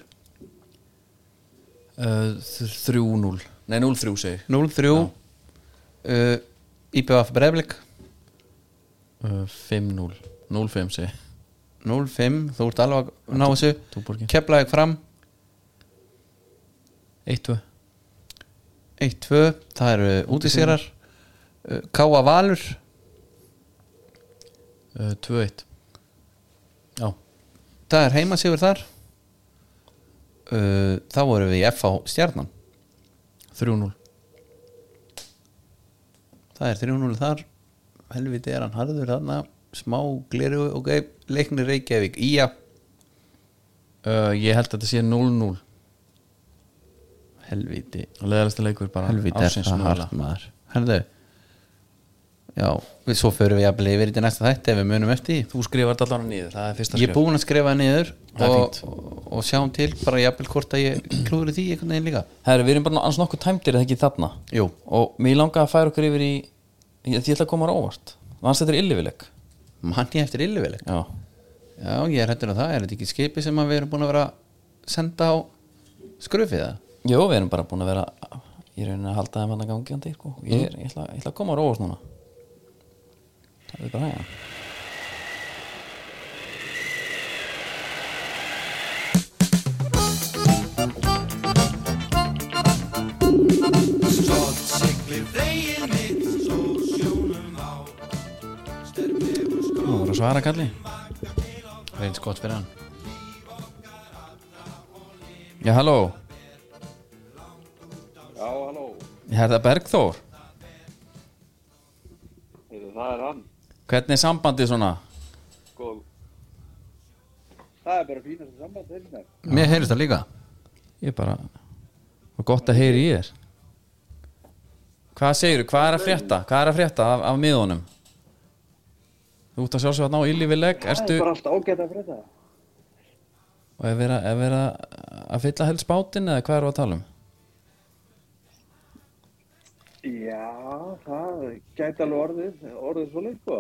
[SPEAKER 1] Uh, þ- 3-0 Nei, 0-3 segir
[SPEAKER 2] 0-3 uh, Eh, IPVF Breiflik
[SPEAKER 1] uh, 5-0 0-5 segir
[SPEAKER 2] 0-5, þú ert alveg að ná þessu
[SPEAKER 1] Túborgi
[SPEAKER 2] Keflavík fram
[SPEAKER 1] 1-2
[SPEAKER 2] 1-2, það eru útisýrar Káa Valur
[SPEAKER 1] uh, 2-1 Já,
[SPEAKER 2] það er heimasífur þar Uh, þá vorum við í FH stjarnan
[SPEAKER 1] 3-0
[SPEAKER 2] það er 3-0 þar helviti er hann harður þarna smá gliru og okay. leiknir Reykjavík Ía
[SPEAKER 1] Eh, uh, Ég held að þetta sé 0-0
[SPEAKER 2] helvíti
[SPEAKER 1] leðalæsta leikur bara
[SPEAKER 2] helvíti er
[SPEAKER 1] ársins
[SPEAKER 2] það hart
[SPEAKER 1] mögulega.
[SPEAKER 2] maður herðu já, við svo förum við að blifa yfir í næsta þætti ef við munum eftir því
[SPEAKER 1] þú skrifar þetta allan niður, það er fyrsta
[SPEAKER 2] ég er búinn að skrifa það niður
[SPEAKER 1] Það er
[SPEAKER 2] og, og, og sjáum til bara jafnvel hvort að ég klúður því einhvern veginn líka
[SPEAKER 1] Herri, við erum bara annars nokkuð tæmdir eða ekki þarna
[SPEAKER 2] Jú.
[SPEAKER 1] og mér langa að færa okkur yfir í ég, ég ætla að koma á óvart vannst þetta er illivileg
[SPEAKER 2] mann ég eftir illuveli
[SPEAKER 1] já,
[SPEAKER 2] já, ég er hættur á það, er þetta ekki skipi sem að við erum búin að vera að senda á skrufið það
[SPEAKER 1] Jó, við erum bara búin að vera ég er að halda þeim hann að gangjandi sko. ég, er, ég, ætla, ég ætla að koma á óvart núna það er bara hægja Nú voru að svara kalli
[SPEAKER 2] reyns gott fyrir hann
[SPEAKER 1] Já, halló
[SPEAKER 3] Já, halló,
[SPEAKER 1] Ég er það Bergþór
[SPEAKER 3] Heyrðu, það er hann
[SPEAKER 1] Hvernig er sambandið svona?
[SPEAKER 3] Góð Það er bara fínast samband þeirnir mér
[SPEAKER 2] mér heyrist það líka
[SPEAKER 1] Ég bara Og gott að heyri ég er Hvað segirðu? Hvað er að frétta? Hvað er að frétta af, af miðunum? Þú út að sjálfsög að ná illi við legg
[SPEAKER 3] Það
[SPEAKER 1] Erstu
[SPEAKER 3] er bara allt ágætt að frétta
[SPEAKER 1] og er verið að- er verið að að fylla helst bátinn eða hvað eru að tala um?
[SPEAKER 3] Já, það gæti alveg orðið orðið svo leik sko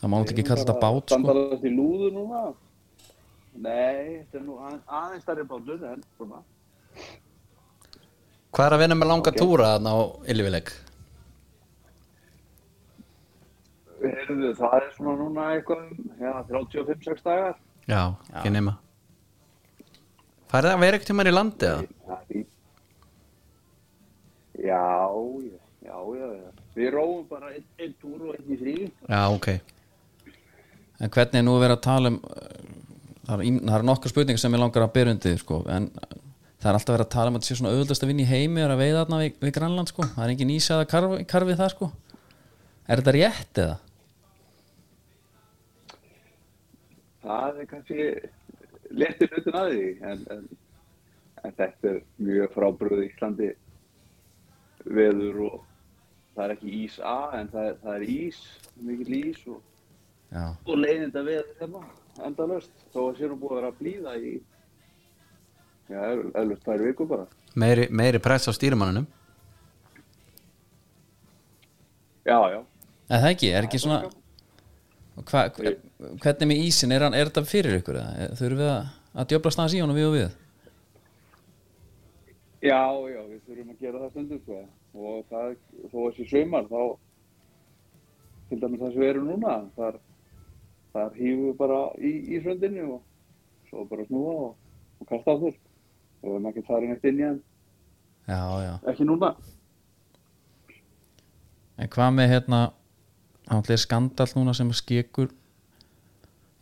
[SPEAKER 1] Það má náttúrulega ekki kalla þetta bát sko
[SPEAKER 3] Standalast í lúðu núna Nei, þetta er nú aðeins, aðeins starri bátur en svona
[SPEAKER 2] hvað er að vinna með langa túra þarna á illuvileg
[SPEAKER 3] Heyrðu, það er svona núna eitthvað um, já, 35-6 dagar
[SPEAKER 2] já, ekki nema farið að vera ekkert tímar í landi eða?
[SPEAKER 3] Það er fínt. Já, já, já, já, já. Við róum bara einn ein túr og einn í frí.
[SPEAKER 2] já, ok
[SPEAKER 1] En hvernig er nú verið að tala um uh, Það eru ím- það eru nokkar spurningar sem ég langar að byrja undir sko En uh, það er alltaf verið að tala um að þetta sé svona auðvöldast að vinna í heimi er að veiða þarna við, við Grænland sko Það er engin ísaða karfi, karfi það sko Er þetta rétt eða?
[SPEAKER 3] Það er kannski léttir hlutin að því, en, en, en þetta er mjög frábröð Íslandi veður og það er ekki ís A, en það er, það er ís, mikil ís og,
[SPEAKER 1] Já,
[SPEAKER 3] og leiðinda veður hérna, endalaust. Þó að sé nú búið að vera að blíða í, já, eflust tvær viku bara.
[SPEAKER 2] meiri, meiri press á stýrimannunum
[SPEAKER 3] Já, já.
[SPEAKER 1] eða það ekki, er ekki svona hva, hva, Hvernig með ísin, er, hann, er þetta fyrir ykkur eða? Þurfum við að, að djöfla staðans í honum við og við?
[SPEAKER 3] Já, já, við þurfum að gera það stundum sko. og það, þó þessi sömar þá til dæmis það sem við erum núna þar, þar hýfum við bara í, í söndinni og svo bara snúa og, og kasta á þér við höfum ekki farið neitt inn í hann
[SPEAKER 1] Já, já
[SPEAKER 3] ekki núna
[SPEAKER 1] En hvað með hérna Þannig er skandal núna sem skekur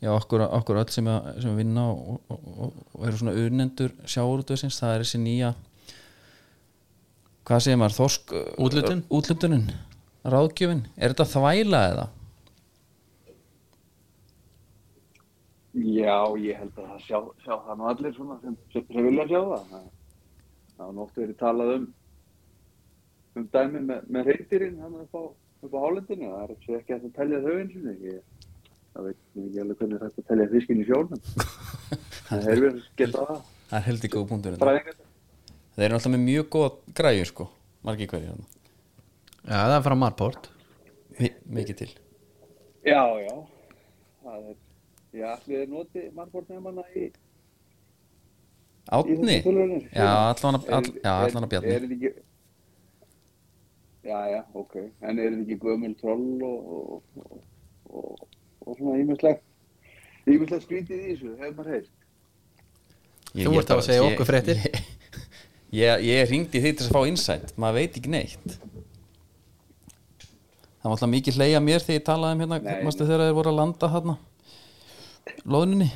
[SPEAKER 1] Já, okkur, okkur öll sem, að, sem að vinna og, og, og, og eru svona unendur sjáurútveðsins, það er þessi nýja hvað segir maður, þorsk
[SPEAKER 2] Úthlutun?
[SPEAKER 1] útlutunin, ráðgjöfin er þetta þvæla eða?
[SPEAKER 3] Já, ég held að það sjá, sjá það nú allir svona sem, sem, sem vilja sjá það það það var nótt verið talað um um dæmi með, með reyndirinn hann upp á, upp á hálendinu það er ekki ekki hægt að telja þau eins og því ég það veit nú ekki alveg hvernig það er hægt að telja fiskinn í sjónum það er verið að geta það
[SPEAKER 1] Það er heldig góð punktur þetta.
[SPEAKER 3] fræðingar
[SPEAKER 1] Þeir eru alltaf með mjög góða græjur sko, margir hverjir hérna.
[SPEAKER 2] já, það er frá Marport
[SPEAKER 1] Mi- mikið til
[SPEAKER 3] Já, já það er ég ætli að noti margbortnefana í Í
[SPEAKER 1] Átni?
[SPEAKER 3] þessu tilraunir?
[SPEAKER 1] Já, allan að- all- já,
[SPEAKER 3] Er-
[SPEAKER 1] allan að
[SPEAKER 3] er-
[SPEAKER 1] bjarni
[SPEAKER 3] Er þetta ekki... Já, já, ok. En er þetta ekki gömul troll og, og, og, og, og svona ímislegt ímislegt skrítið í þessu, hefur maður heyrt.
[SPEAKER 1] Ég-
[SPEAKER 2] Þú
[SPEAKER 1] ég
[SPEAKER 2] ert að
[SPEAKER 1] bara-
[SPEAKER 2] segja
[SPEAKER 1] ég-
[SPEAKER 2] okkur fréttir.
[SPEAKER 1] ég- Ég, ég ringdi því til að fá insight maður veit ekki neitt Það var alltaf mikið hleyja mér þegar ég talaði um hérna
[SPEAKER 3] Nei.
[SPEAKER 1] mástu þegar þeir voru að landa hérna loðninni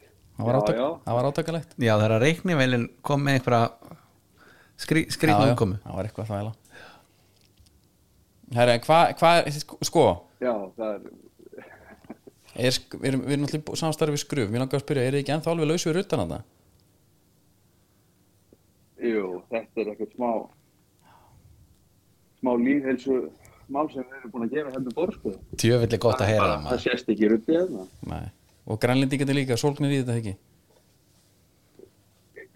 [SPEAKER 1] Það var,
[SPEAKER 3] Já,
[SPEAKER 1] átak,
[SPEAKER 3] já.
[SPEAKER 1] Það var átakalegt
[SPEAKER 2] já, það er að reiknivelin kom með einhverja skrí,
[SPEAKER 1] Já, já,
[SPEAKER 2] skrýtnum um komu
[SPEAKER 1] Það var eitthvað þvæla Herra, hvað hva, er- sko
[SPEAKER 3] Já, það er...
[SPEAKER 1] er, sk- við erum, við erum náttúrulega samstarfið skruf mér langar að spyrja, er þið ekki ennþá alveg laus við ruttan að það?
[SPEAKER 3] Jú, þetta er ekkert smá smá líðhelsu mál sem við erum búin að gera heldur borð sko.
[SPEAKER 2] Tjöfellig gott að heyra það
[SPEAKER 3] það
[SPEAKER 2] maður
[SPEAKER 3] sést ekki röndi hérna
[SPEAKER 1] Nei. og grænlendingarnir líka, sólgnir í þetta ekki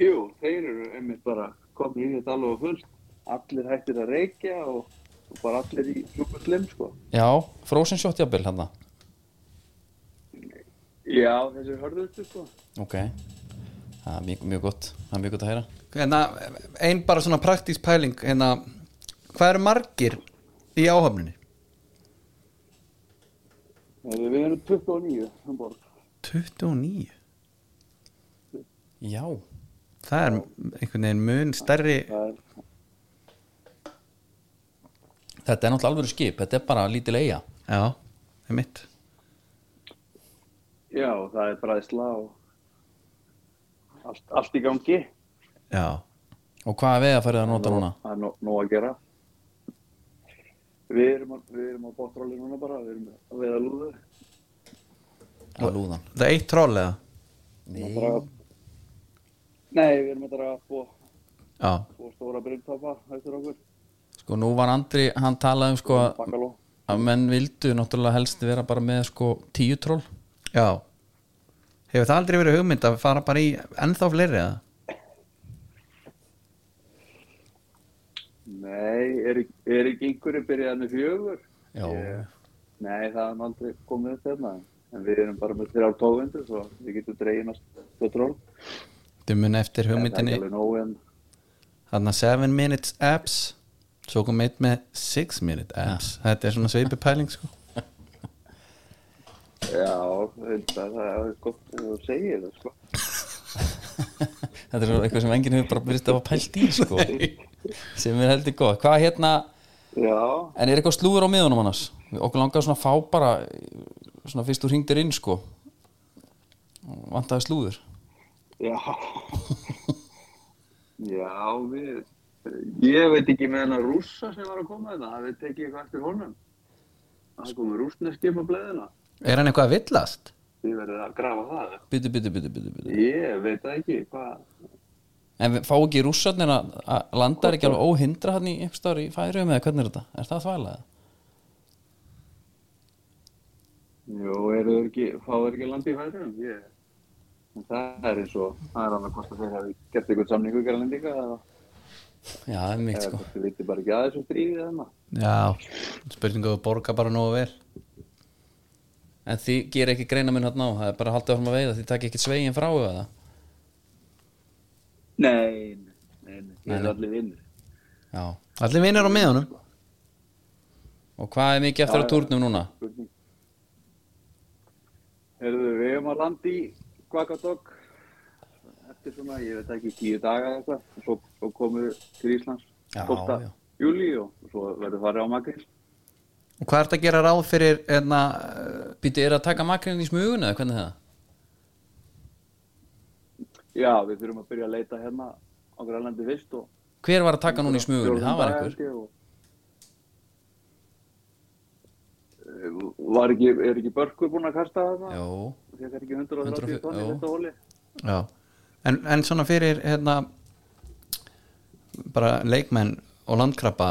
[SPEAKER 3] Jú, þeir eru einmitt bara komin í þetta alveg á fullt allir hættir að reykja og, og bara allir í superslim sko.
[SPEAKER 1] já, frozen shot jafnvel hann
[SPEAKER 3] Já, þessir hörðustu sko.
[SPEAKER 1] ok, það er mjög, mjög gott það er mjög gott að heyra
[SPEAKER 2] hérna, Einn bara svona praktísk pæling hérna, Hvað eru margir í áhafninni?
[SPEAKER 3] Við við erum 29 um borð
[SPEAKER 2] 29
[SPEAKER 1] já,
[SPEAKER 2] Það er einhvern veginn mun stærri
[SPEAKER 3] það er,
[SPEAKER 1] þetta er náttúrulega alveg skip þetta er bara lítil eiga
[SPEAKER 2] Já, það er mitt
[SPEAKER 3] Já, það er bræðsla og allt, allt í gangi
[SPEAKER 2] Já,
[SPEAKER 1] og hvaða vega færið að nota núna
[SPEAKER 3] Það er nó- nóg að gera Við erum, að- við erum á bóttráli núna bara, við erum að veiða lúðu
[SPEAKER 1] að lúðan
[SPEAKER 2] það er eitt troll eða?
[SPEAKER 3] Að draga- Nei, við erum að draga tvo,
[SPEAKER 2] Já,
[SPEAKER 3] tvo stóra brynntapa eftir okkur,
[SPEAKER 1] sko nú var Andri, hann talaði um sko að-
[SPEAKER 3] bakaló
[SPEAKER 1] að menn vildu náttúrulega helst vera bara með sko tíu troll
[SPEAKER 2] já Hefur það aldrei verið hugmynd að fara bara í ennþá fleiri eða?
[SPEAKER 3] Nei, er, ekki- er ekki einhverju byrjað með fjögur?
[SPEAKER 1] Já.
[SPEAKER 3] Ég- Nei, það er aldrei komið upp hérna, en við erum bara með þrjá tófundur, svo við getum dregið næst tvö tról.
[SPEAKER 2] Þau muni eftir
[SPEAKER 3] En Það er ekki
[SPEAKER 2] hugmyndinni
[SPEAKER 3] alveg nógu en
[SPEAKER 2] Þarna 7 minutes apps Svo kom eitt með 6 minute apps Þetta er svona sveipi pæling sko
[SPEAKER 3] Já, þetta, það er gott að þú segir það, sko.
[SPEAKER 1] þetta er eitthvað sem enginn hefur bara verið að pælt í sko sem er heldur gott hvað hérna,
[SPEAKER 3] Já,
[SPEAKER 1] en er eitthvað slúður á miðunum annars okkur langar svona að fá bara svona fyrst þú hringdir inn sko vantaði slúður
[SPEAKER 3] já. já, við, ég veit ekki með hennar rússa sem var að koma þetta, það við tekið eitthvað eftir honum. Það komið rússneskip á bleðina,
[SPEAKER 2] Er hann eitthvað að villast?
[SPEAKER 3] þið verður að grafa það.
[SPEAKER 1] byttu, byttu, byttu, byttu, byttu.
[SPEAKER 3] Ég veit það ekki, hvað,
[SPEAKER 1] en við- fá ekki rússarnir að að landar ekki alveg óhindra hann í einhverstaðar í færiðum eða hvernig er þetta, er það þvælega
[SPEAKER 3] Jú, eru þeir ekki, fá þeir ekki landi í færum? Ég, en það er eins og, það er annað hvort að þeir hafi gert eitthvað samningu gerðlendinga eða
[SPEAKER 1] já, það er mitt
[SPEAKER 3] eða
[SPEAKER 1] sko
[SPEAKER 3] hvort þeir viti bara ekki aðeins um stríðið eða maður.
[SPEAKER 2] Já, spurningu að borga bara nógu vel
[SPEAKER 1] en því gerir ekki greina minn hann á það er bara að halda áfram að veiða, því takk ekki svegin frá eða
[SPEAKER 3] Nei, nei, nei, þeir
[SPEAKER 1] Nei, nei.
[SPEAKER 3] eru allir vinnir.
[SPEAKER 1] já,
[SPEAKER 2] Allir vinir á miðunum
[SPEAKER 1] og hvað er mikið eftir
[SPEAKER 3] Já,
[SPEAKER 1] á
[SPEAKER 3] já.
[SPEAKER 1] turnum núna
[SPEAKER 3] Spurning. Herðu, við hefum að landi í Kvakadokk eftir svona, ég veit ekki, tíu daga eða eitthvað. og Svo, svo komum við til Íslands
[SPEAKER 1] Já,
[SPEAKER 3] 12.
[SPEAKER 1] já.
[SPEAKER 3] júli og og svo verður farið á Magrís.
[SPEAKER 2] Og hvað ertu að gera ráð fyrir hérna, eh, einna,
[SPEAKER 1] Býtu, er að taka makrinn í smuguna eða hvernig er það?
[SPEAKER 3] Já, við þurfum að byrja að leita hérna á Grænlandi vist og
[SPEAKER 1] Hver var að taka núna í smuguna? Það var einhver
[SPEAKER 3] einhver Eh, Var ekki, er ekki Börkur búinn að kasta þarna?
[SPEAKER 1] Jó,
[SPEAKER 3] Þegar er ekki 130
[SPEAKER 1] 140,
[SPEAKER 3] tonn í
[SPEAKER 1] jú.
[SPEAKER 3] þetta hóli?
[SPEAKER 2] já. En, en svona fyrir einna, bara leikmenn og landkrabba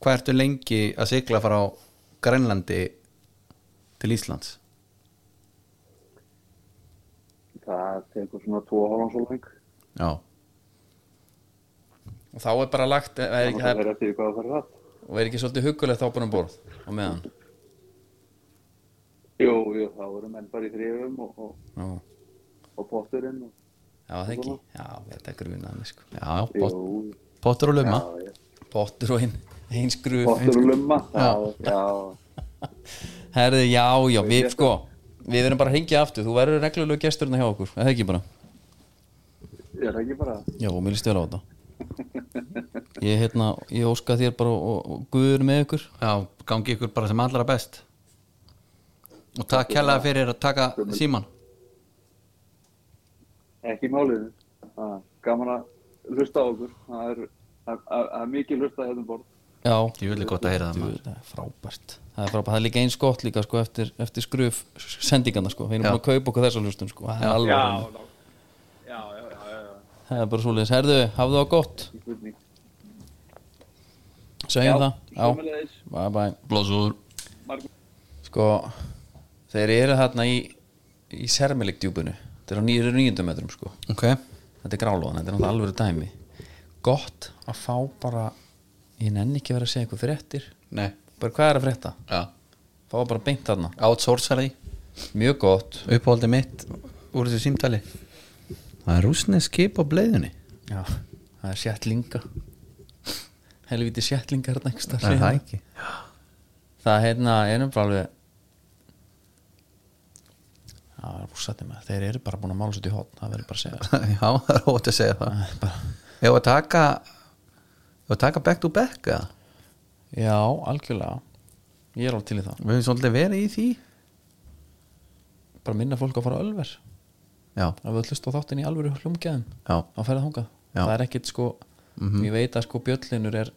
[SPEAKER 2] hvað ertu lengi að sigla frá Grænlandi til Íslands?
[SPEAKER 3] Það tekur svona 2 hálfan svo lang
[SPEAKER 2] Já,
[SPEAKER 1] og þá er bara lagt er, er,
[SPEAKER 3] Þannig að
[SPEAKER 1] er,
[SPEAKER 3] það er eftir því hvað það fyrir það
[SPEAKER 1] og er ekki svolítið huggulegt ábúin um borð á meðan
[SPEAKER 3] Jú, jú, þá eru menn bara í þrifum og, og,
[SPEAKER 1] Nú,
[SPEAKER 3] og potturinn og,
[SPEAKER 1] Já, það ekki, já, þetta er grunaði sko.
[SPEAKER 2] já, pot,
[SPEAKER 3] Jú,
[SPEAKER 2] pottur og
[SPEAKER 3] já,
[SPEAKER 2] luma
[SPEAKER 3] já,
[SPEAKER 1] Pottur og hinn, hinn skruf
[SPEAKER 3] pottur og lumma Já, já,
[SPEAKER 1] Herði, já, já, við sko Við verðum bara að hringja aftur, þú verður reglulegu gesturinn hjá okkur, eða ekki bara
[SPEAKER 3] ég er það ekki bara
[SPEAKER 1] Já, mér líst vel á þetta Ég, hérna, ég óska þér bara og, og guður með ykkur
[SPEAKER 2] Já, gangi ykkur bara sem allra best Og takk kærlega fyrir að taka síman
[SPEAKER 3] ekki málið Það er Gaman að hlusta á okkur Það er, það- það það er mikið hlusta hérna um borð
[SPEAKER 1] Já,
[SPEAKER 2] Ég vilja gott að heyra það
[SPEAKER 1] Djú,
[SPEAKER 2] maður
[SPEAKER 1] það er frábært það er, frábært. Það er líka eins gott líka sko, eftir, eftir skruf sendingarna sko. við erum
[SPEAKER 2] Já.
[SPEAKER 1] búin að kaupa okkur þessa hlustun sko. það er alveg
[SPEAKER 3] já, já, já, já.
[SPEAKER 1] það er bara svoleiðis, herðu, hafðu það gott
[SPEAKER 3] ekki spurning
[SPEAKER 1] segjum það, já,
[SPEAKER 3] sömulegis,
[SPEAKER 1] bye bye
[SPEAKER 2] Blásúður
[SPEAKER 3] Margur
[SPEAKER 1] sko, þeir eru þarna í í sermilik djúbunu þetta er á nýjur nýjundum metrum sko
[SPEAKER 2] Ok
[SPEAKER 1] þetta er grálaðan, þetta er náttúrulega alvöru dæmi gott að fá bara ég nenni ekki að vera að segja eitthvað fréttir
[SPEAKER 2] Nei
[SPEAKER 1] bara hvað er að frétta,
[SPEAKER 2] Já
[SPEAKER 1] fá bara beint þarna
[SPEAKER 2] Outsourcar því
[SPEAKER 1] mjög gott
[SPEAKER 2] Uppáhaldi mitt úr þessu símtali Það er rúsnið skip á bleiðunni
[SPEAKER 1] já, það er sjettlinga helviti sjettlinga hérna ekki
[SPEAKER 2] Það er það ekki
[SPEAKER 1] það hérna er bara alveg það er rússatni með þeir eru bara búin að mála sér til hotn það verður bara að segja
[SPEAKER 2] Já, það er ótt að segja það
[SPEAKER 1] Það er bara...
[SPEAKER 2] Ég var að taka Ég var að taka back to back eða?
[SPEAKER 1] já, algjörlega ég er alveg til í það
[SPEAKER 2] Við höfum svolítið verið í því
[SPEAKER 1] bara minna fólk að fara ölver
[SPEAKER 2] Já,
[SPEAKER 1] að við hlustu á þáttinn í alvöru hlumgæðum
[SPEAKER 2] já,
[SPEAKER 1] á ferða þangað
[SPEAKER 2] Já. Mhm.
[SPEAKER 1] það er ekkit sko, ég veit að sko Bjöllinur er,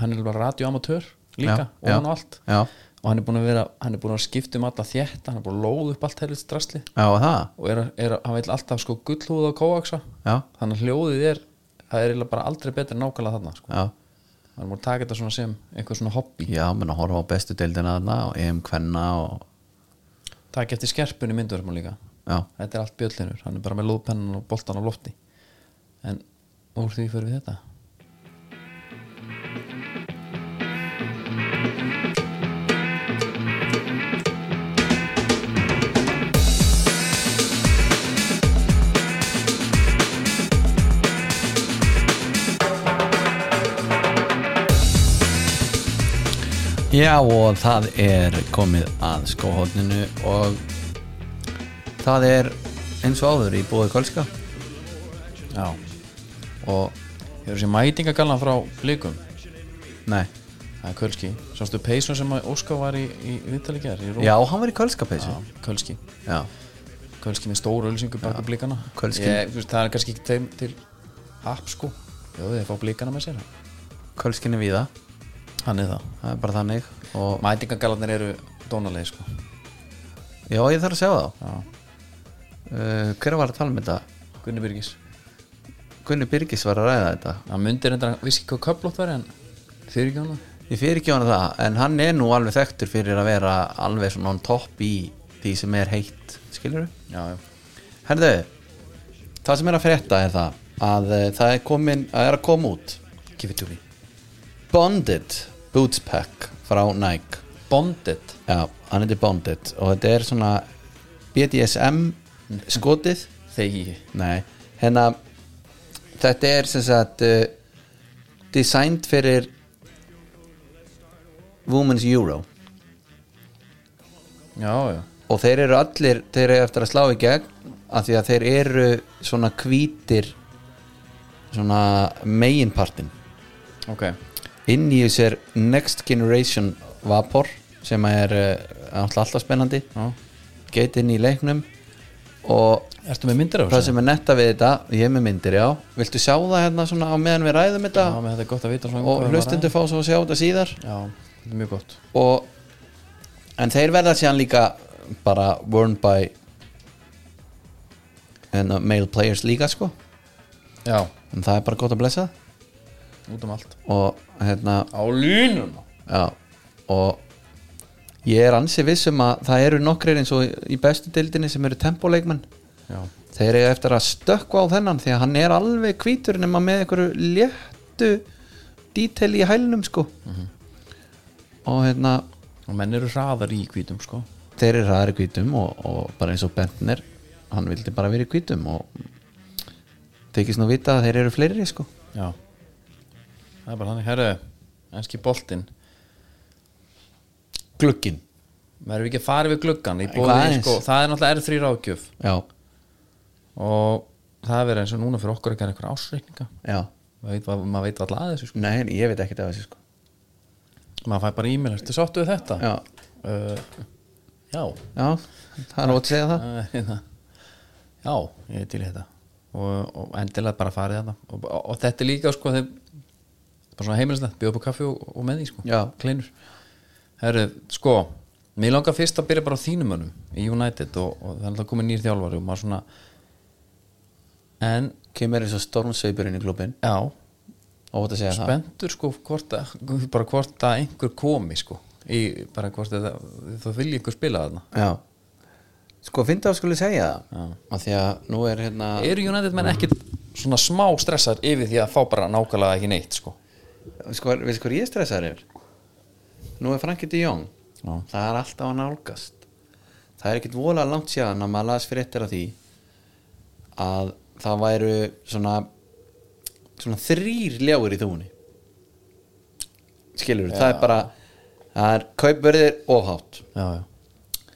[SPEAKER 1] hann er bara radioamatör líka,
[SPEAKER 2] Já, já.
[SPEAKER 1] og hann og allt
[SPEAKER 2] já,
[SPEAKER 1] og hann er búin að vera, hann er búin að skipta um alla þétt hann er búin að lóða upp allt helvits drasli
[SPEAKER 2] já, það
[SPEAKER 1] og er, að- er, að- hann vil alltaf sko gullhúða og kóaksa
[SPEAKER 2] Já,
[SPEAKER 1] þannig að hljóðið er það er eiginlega bara aldrei betra en nákvæmlega þarna sko.
[SPEAKER 2] já
[SPEAKER 1] hann er búin að taka þetta svona sem einhver svona hobby
[SPEAKER 2] Já, menn að horfa á bestu deildina þarna og EM Kvenna og
[SPEAKER 1] taka eftir skerpunni myndverðum líka
[SPEAKER 2] já,
[SPEAKER 1] þetta er allt Bjöllinur, hann er bara með lóðpennan og boltan á lofti en úr því fyrir við þetta
[SPEAKER 2] Já og það er komið að skóhóðninu og það er eins og áður í búið kölska
[SPEAKER 1] já,
[SPEAKER 2] og
[SPEAKER 1] hefur þessi mætingagallan frá blikum
[SPEAKER 2] nei,
[SPEAKER 1] Það er Kölski Sástu peysun sem að Óskar var í, í viðtalikjar í Róm?
[SPEAKER 2] já hann var í kölska peysu
[SPEAKER 1] Já, Kölski
[SPEAKER 2] Já,
[SPEAKER 1] Kölski með stóru ölsingu baku blikana
[SPEAKER 2] Kölski.
[SPEAKER 1] ég, þú veist, Það er kannski ekki þeim til app sko Já, þeir fá blikana með sér
[SPEAKER 2] kölskinni víða,
[SPEAKER 1] Hann er það
[SPEAKER 2] það er bara þannig og
[SPEAKER 1] Mætingagallarnir eru dónalegi sko
[SPEAKER 2] já ég þarf að segja þá
[SPEAKER 1] Já.
[SPEAKER 2] uh, Hver var að tala um þetta?
[SPEAKER 1] Gunni Byrgis
[SPEAKER 2] Gunni Birgis var að ræða þetta
[SPEAKER 1] Það myndir enda, vissi ekki hvað köflótt verið en fyrir ekki hana
[SPEAKER 2] Ég fyrir ekki hana það en hann er nú alveg þekktur fyrir að vera alveg svona on top í því sem er heitt, skilur við?
[SPEAKER 1] Já, já
[SPEAKER 2] Herðu, það sem er að frétta er það að eh, það er, komin, að er að koma út
[SPEAKER 1] Give it to me
[SPEAKER 2] Bonded Boots Pack frá Nike
[SPEAKER 1] Bonded
[SPEAKER 2] Já, hann heitir Bonded og þetta er svona BDSM skotið
[SPEAKER 1] Þegi
[SPEAKER 2] Nei, hérna þetta er sem sagt uh, designed fyrir Women's Euro
[SPEAKER 1] Já, já
[SPEAKER 2] og þeir eru allir, þeir eru eftir að slá í gegn af því að þeir eru svona hvítir svona meginpartin
[SPEAKER 1] Ok
[SPEAKER 2] inn í þessu er Next Generation Vapor sem er uh, náttúrulega alltaf spennandi
[SPEAKER 1] Já.
[SPEAKER 2] geit inn í leiknum og
[SPEAKER 1] Ertu með myndir af
[SPEAKER 2] það sem er netta við þetta ég er með myndir, já, viltu sjá það hérna svona á meðan við ræðum þetta
[SPEAKER 1] Já, með þetta er gott að vita svona um hvað
[SPEAKER 2] og
[SPEAKER 1] við varum að
[SPEAKER 2] hlustundu fá svo að sjá þetta síðar
[SPEAKER 1] ræða. Já, þetta er mjög gott
[SPEAKER 2] og en þeir verða síðan líka bara worn by en male players líka sko
[SPEAKER 1] Já,
[SPEAKER 2] en það er bara gott að blessa
[SPEAKER 1] út um allt
[SPEAKER 2] og hérna
[SPEAKER 1] Á línuna
[SPEAKER 2] já, og ég er ansi vissum að það eru nokkrir eins og í bestu dildinni sem eru tempoleikmenn
[SPEAKER 1] Já,
[SPEAKER 2] þeir eru eftir að stökkva á þennan því að hann er alveg hvítur nema með einhverju léttu díteli í hælnum sko og hérna
[SPEAKER 1] og menn eru hraðar í hvítum sko
[SPEAKER 2] þeir eru ræðir hvítum og, og bara eins og Bentner hann vildi bara vera í hvítum og tekist nú vita að þeir eru fleiri sko
[SPEAKER 1] Já Það er bara þannig, herru, enski boltinn
[SPEAKER 2] glukkin
[SPEAKER 1] Við erum ekki að fara við gluggan í
[SPEAKER 2] Eitthvað
[SPEAKER 1] bóði,
[SPEAKER 2] aðeins.
[SPEAKER 1] sko, Það er náttúrulega R3 ráðgjöf
[SPEAKER 2] já,
[SPEAKER 1] og það er verið eins og núna fyrir okkur að gera einhverja ásreikninga
[SPEAKER 2] já,
[SPEAKER 1] maður veit, maður veit alltaf að þessu sko.
[SPEAKER 2] nei ég veit ekkert af þessu sko
[SPEAKER 1] maður fær bara e-mail, ertu sáttu við þetta?
[SPEAKER 2] já,
[SPEAKER 1] uh, já.
[SPEAKER 2] já, það er ótt að segja það
[SPEAKER 1] Það er hérna. Já, ég er til í þetta og, og endilega bara farið þetta og, og, og þetta er líka sko þeim, bara svona heimilislegt, bjóða upp á kaffi og, og með því sko,
[SPEAKER 2] Já.
[SPEAKER 1] kleinur Herru, sko, mér langar fyrst að byrja bara á þínum önum í United og, og það er alltaf komið nýr þjálfari og maður svona en
[SPEAKER 2] kemur eins og stormsveipur inn í klubin
[SPEAKER 1] já,
[SPEAKER 2] og hótt að segja það
[SPEAKER 1] spendur sko hvort að, bara hvort að einhver komi sko í, bara hvort að þú vilji einhver spila þarna
[SPEAKER 2] Já Sko, fyndi að skuli segja það að Því að nú er hérna
[SPEAKER 1] eru United menn ekkit svona smá stressar yfir því að fá bara nákvæmlega ekki neitt sko
[SPEAKER 2] sko, Við sko, ég er stressaður yfir Nú er Franki de Jong
[SPEAKER 1] Já.
[SPEAKER 2] Það er alltaf að nálgast Það er ekkit vola langt síðan að maður laðast fyrir eftir að því að það væru svona svona þrýr ljáir í þúni Skilur, það er bara það er kaupverðir og hátt
[SPEAKER 1] já, já,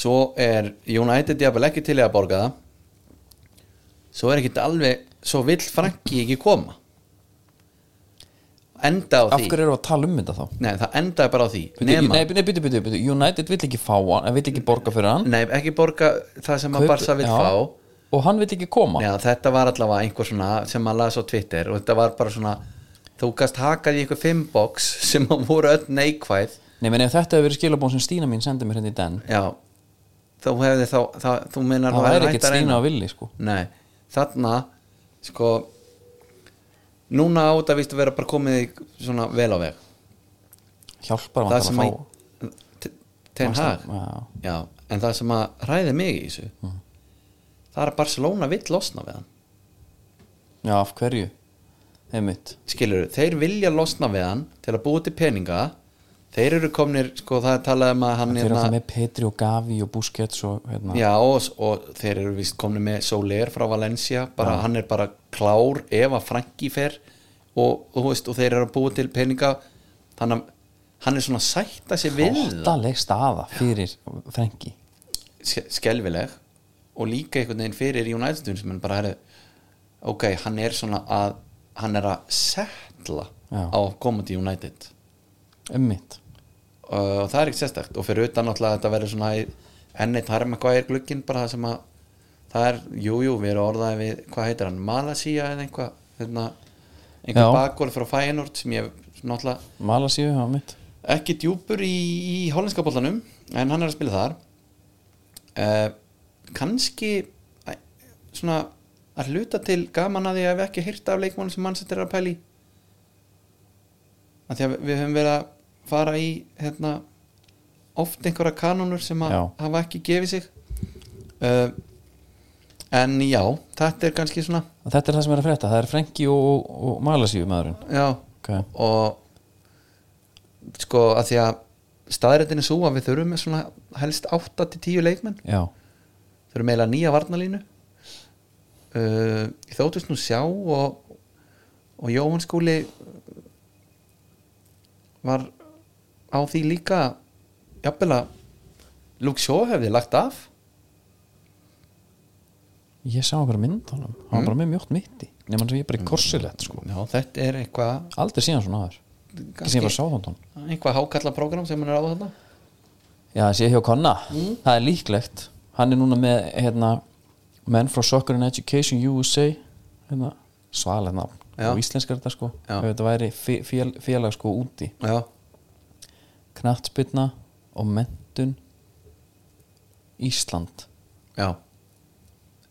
[SPEAKER 2] svo er United jafnvel ekki til í að borga það svo er ekkit alveg svo vill Franki ekki koma enda á
[SPEAKER 1] af
[SPEAKER 2] því
[SPEAKER 1] hverju erum við að tala um þetta þá
[SPEAKER 2] nei, það endaði bara á því
[SPEAKER 1] Bíddu,
[SPEAKER 2] nema,
[SPEAKER 1] nei, nei, byrju, byrju, byrju, United vill ekki fá hann en vill ekki borga fyrir hann
[SPEAKER 2] nei, ekki borga það sem að Barca vill
[SPEAKER 1] já,
[SPEAKER 2] fá
[SPEAKER 1] og hann vill ekki koma
[SPEAKER 2] Já, þetta var allavega einhver svona sem maður las á Twitter og þetta var bara svona þú gast hakað í einhver fimm box sem að voru öll neikvæð
[SPEAKER 1] Nei, menn ef þetta hefur verið skilabón sem Stína mín sendi mér hérna í den
[SPEAKER 2] já, þú hefði þá, þá þú meinar
[SPEAKER 1] það
[SPEAKER 2] þú hefðir
[SPEAKER 1] væri
[SPEAKER 2] hætt
[SPEAKER 1] ekkert
[SPEAKER 2] að reyna.
[SPEAKER 1] Stína að villi sko
[SPEAKER 2] Nei, þarna sko núna á þetta víst að vera bara komið í svona vel á veg
[SPEAKER 1] hjálpar
[SPEAKER 2] það
[SPEAKER 1] vantar
[SPEAKER 2] sem
[SPEAKER 1] að
[SPEAKER 2] að
[SPEAKER 1] fá
[SPEAKER 2] Te- Ten Hag
[SPEAKER 1] Já.
[SPEAKER 2] já, en það sem að ræði mig í þessu það er að Barcelona vill losna við hann
[SPEAKER 1] já, af hverju, einmitt
[SPEAKER 2] skilur, þeir vilja losna við hann til að búa til peninga þeir eru komnir, sko það er talað um að hann
[SPEAKER 1] þeir eru alltaf með Petri og Gavi og Busquets og hérna
[SPEAKER 2] Já, og, og þeir eru vist komni með Soler frá Valencia, bara, hann er bara klár ef að Franki fer og, og, þú veist, og þeir eru að búa til peninga þannig að hann er svona að sætta sér við það,
[SPEAKER 1] óttaleg staða fyrir Frenki
[SPEAKER 2] Ske- skelfileg og líka einhvern veginn fyrir United sem hann bara er ok, hann er svona að hann er að setla
[SPEAKER 1] Já.
[SPEAKER 2] á að koma til United
[SPEAKER 1] ummitt
[SPEAKER 2] og það er ekki sérstakt og fyrir utan náttúrulega að þetta verður svona í- enn eitt harma hvað er glugginn bara það sem að það er, jújú, jú, við erum orðaði við hvað heitir hann, Malasía eða einhvað hérna, einhver
[SPEAKER 1] Já.
[SPEAKER 2] bakgóli frá Feyenoord sem ég náttúrulega
[SPEAKER 1] Malasíu, já, mitt
[SPEAKER 2] ekki djúpur í, í hollenska bollanum en hann er að spila þar uh, kannski æ, svona að hluta til gaman að ég hef ekki hýrt af leikmónum sem mannsettir er að pæli að því að við- við höfum verið að fara í hérna, oft einhverja kanónur sem að
[SPEAKER 1] Já.
[SPEAKER 2] hafa ekki gefið sig uh, en já þetta er kannski svona
[SPEAKER 1] þetta er það sem er að frétta, það er Frenki og, og, og Malasíu maðurinn
[SPEAKER 2] já,
[SPEAKER 1] okay.
[SPEAKER 2] og sko að því að staðrættin er svo að við þurfum með svona helst 8-10 leikmenn
[SPEAKER 1] já,
[SPEAKER 2] þurfum eiginlega nýja varnalínu uh, ég þóttist nú sjá og, og Jóhann skúli var á því líka jafnvel að Luke Shaw hefði lagt af
[SPEAKER 1] ég sá bara mynd á honum hann var
[SPEAKER 2] Mm.
[SPEAKER 1] bara með mjótt mitti nema sem ég bara í korsilett sko
[SPEAKER 2] já, þetta er eitthvað
[SPEAKER 1] aldrei síðan svona aður, ekki sem ég bara sá þann tón
[SPEAKER 2] eitthvað hákalla prógram sem hann er á þarna
[SPEAKER 1] já, þessi ég hjá Konna,
[SPEAKER 2] Mm.
[SPEAKER 1] það er líklegt hann er núna með hérna, menn frá Soccer and Education USA hérna, svalega nafn
[SPEAKER 2] Já.
[SPEAKER 1] og íslenskar þetta sko
[SPEAKER 2] Já.
[SPEAKER 1] ef þetta væri fe- fél, félag sko úti
[SPEAKER 2] já,
[SPEAKER 1] knattspilna og mentun Ísland
[SPEAKER 2] já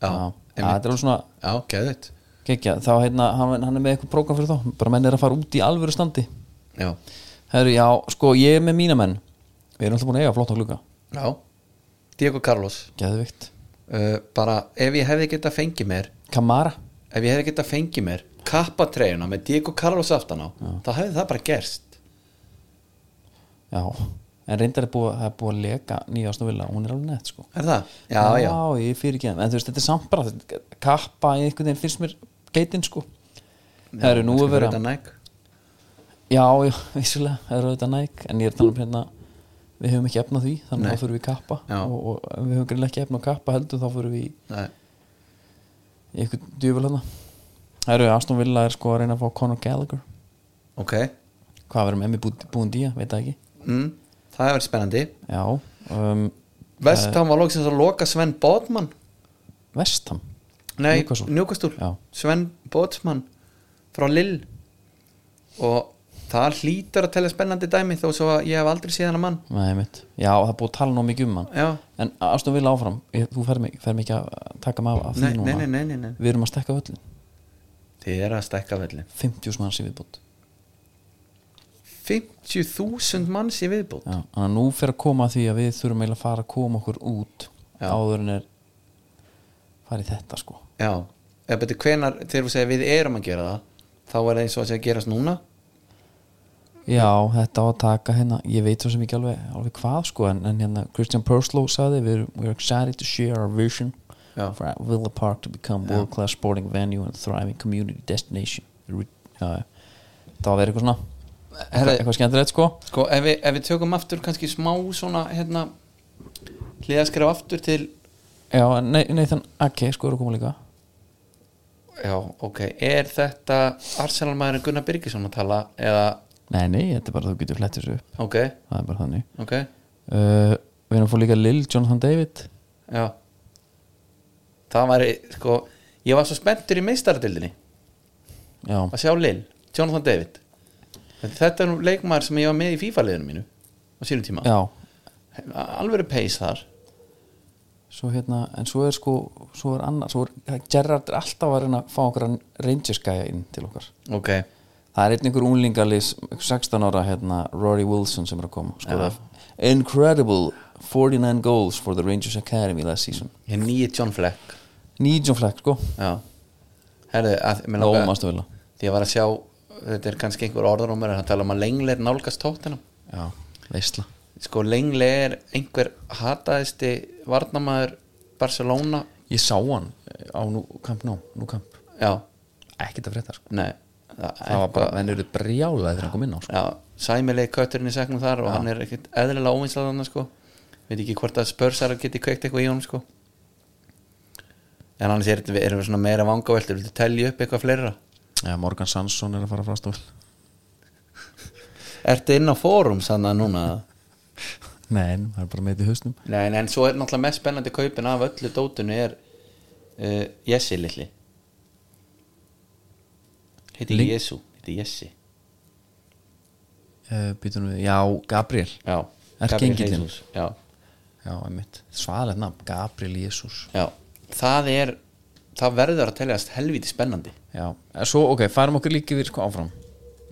[SPEAKER 2] já,
[SPEAKER 1] Já,
[SPEAKER 2] einmitt.
[SPEAKER 1] þetta er alveg svona
[SPEAKER 2] já, geðvitt
[SPEAKER 1] kekja, þá hérna, hann, hann er með eitthvað prógram fyrir þá bara menn er að fara út í alvöru standi
[SPEAKER 2] Já,
[SPEAKER 1] Herru, já, sko, ég er með mína menn við erum alltaf búin að eiga flott á glugga
[SPEAKER 2] já Diego Carlos
[SPEAKER 1] geðvikt,
[SPEAKER 2] uh, bara ef ég hefði getað fengið mér
[SPEAKER 1] Kamara
[SPEAKER 2] ef ég hefði getað fengið mér kappatreyjuna með Diego Carlos aftan á þá hefði það bara gerst
[SPEAKER 1] já, en reyndar er búið, það er búið að leka nýjast og vilja, hún er alveg nett sko
[SPEAKER 2] Er það? Já, já,
[SPEAKER 1] ég fyrir ekki það en þú veist, þetta er samt bara, þetta- kappa í einhvern veginn finnst mér geitin sko Herru, nú er verið að-
[SPEAKER 2] að
[SPEAKER 1] Já, já, vissulega, það eru auðvitað næk en ég er talað um hérna við höfum ekki efna því, þannig
[SPEAKER 2] Nei.
[SPEAKER 1] að þá fyrir við í kappa
[SPEAKER 2] Já.
[SPEAKER 1] og, og ef við höfum greinlega ekki efna á kappa heldur þá fyrir við í í einhvern djöful hérna Það eru Aston Villa er sko að reyna að fá Conor Gallagher
[SPEAKER 2] Ok
[SPEAKER 1] Hvað verður með mig búin dýja, veit það ekki
[SPEAKER 2] mm. Það hefur verið spennandi
[SPEAKER 1] Já, um,
[SPEAKER 2] Vestham var lóksins að loka Sven Bótmann
[SPEAKER 1] Vestham
[SPEAKER 2] Nei,
[SPEAKER 1] Newcastle.
[SPEAKER 2] Newcastle
[SPEAKER 1] Já.
[SPEAKER 2] Sven Bótsmann frá Lill og það hlýtur að telja spennandi dæmi þó svo að ég hef aldrei séð hann að mann
[SPEAKER 1] Nei, mitt Já, það er búið að tala nóg mikið um hann
[SPEAKER 2] Já,
[SPEAKER 1] En Aston Villa áfram, ég, þú fer mig, fer mig ekki að taka mig af, af því
[SPEAKER 2] nei,
[SPEAKER 1] núna
[SPEAKER 2] nei, nei, nei, nei, nei.
[SPEAKER 1] Við erum að stekka völlin
[SPEAKER 2] Þið er að stækka velli
[SPEAKER 1] 50 manns í viðbútt
[SPEAKER 2] 50.000 manns í viðbútt
[SPEAKER 1] Já, þannig að nú fer að koma að því að við þurfum eiginlega að fara að koma okkur út
[SPEAKER 2] Já.
[SPEAKER 1] áður en er farið þetta sko
[SPEAKER 2] Já, eða betur hvenar þegar við segja við erum að gera það þá er það eins og að segja gerast núna
[SPEAKER 1] Já, þetta á að taka hérna ég veit svo sem ekki alveg, alveg hvað sko en, en hérna Christian Perslow sagði "We're- we're excited to share our vision
[SPEAKER 2] Já.
[SPEAKER 1] for Villa Park to become world class sporting venue and thriving community destination uh, Það var að vera eitthvað svona
[SPEAKER 2] Herra-
[SPEAKER 1] eitthvað, eitthvað skemmtilegt sko
[SPEAKER 2] Sko, ef við, ef við tökum aftur kannski smá svona hérna hliðaskref aftur til
[SPEAKER 1] Já, en nei, nei þann, ok, sko eru að koma líka
[SPEAKER 2] Já, ok, er þetta Arsenal maðurinn Gunnar Birgisson að tala eða,
[SPEAKER 1] Nei, nei, þetta er bara þú getur flett þessu upp
[SPEAKER 2] ok,
[SPEAKER 1] það er bara þannig
[SPEAKER 2] ok
[SPEAKER 1] uh, Við erum að fá líka Lil Jonathan David
[SPEAKER 2] Já Það var, sko ég var svo spenntur í meistaradildinni
[SPEAKER 1] Já,
[SPEAKER 2] að sjá Lil, Jonathan David En Þetta er nú leikmaður sem ég var með í FIFA-liðinu mínu á sínum tíma
[SPEAKER 1] já
[SPEAKER 2] Alvöru pace þar
[SPEAKER 1] Svo hérna, en svo er sko svo er annar, svo er, Gerrard er alltaf að reyna að fá okkur Rangers gæja inn til okkar
[SPEAKER 2] Ok,
[SPEAKER 1] Það er einn einhver unglingalis 16 ára hérna, Rory Wilson sem er að koma skoða, Incredible 49 goals for the Rangers Academy last season
[SPEAKER 2] Ég er nýið John Fleck
[SPEAKER 1] Nýjum flæk sko, um
[SPEAKER 2] Já Herðu, að, mér langaði-
[SPEAKER 1] ómastu vilja
[SPEAKER 2] Því ég var að sjá Þetta er kannski einhver orðarómur En það tala um að lengle er nálgast tóttina
[SPEAKER 1] Já, veistla
[SPEAKER 2] Sko lengle er einhver hataðisti Varnamaður Barcelona
[SPEAKER 1] Ég sá hann eh, á nú, kamp nú, nú kamp
[SPEAKER 2] Já,
[SPEAKER 1] Ekkert að frétta sko
[SPEAKER 2] nei Það,
[SPEAKER 1] Það var bara, henni eru brjálaði þegar hann kom inn á sko.
[SPEAKER 2] Já, sæmilegi kötturinn í segnum þar Og hann er ekkert eðlilega óvinslega þannig sko Veit ekki hvort að spörsar geti kveikt eitthvað í honum sko En annars er, þetta- erum við svona meira vangaveltur Viltu telja upp eitthvað fleira
[SPEAKER 1] Já, Morgan Sansson er að fara frá stofil
[SPEAKER 2] Ertu inn á fórum sannig núna eða?
[SPEAKER 1] Nei, nú, það er bara með í hausnum
[SPEAKER 2] Nei, nei, en svo er náttúrulega mest spennandi kaupin af öllu dótinu er uh, Jessi litli Heiti
[SPEAKER 1] Ling-
[SPEAKER 2] Jesu, heiti Jessi
[SPEAKER 1] uh, Býtum við, já, Gabriel
[SPEAKER 2] Já,
[SPEAKER 1] Erkiengillinn.
[SPEAKER 2] Gabriel Jesus, já,
[SPEAKER 1] Já, einmitt, svaðalegt nafn, Gabriel Jésús
[SPEAKER 2] já, það er það verður að teljast helviti spennandi
[SPEAKER 1] Já, eh, svo, ok, færum okkur líka við sko áfram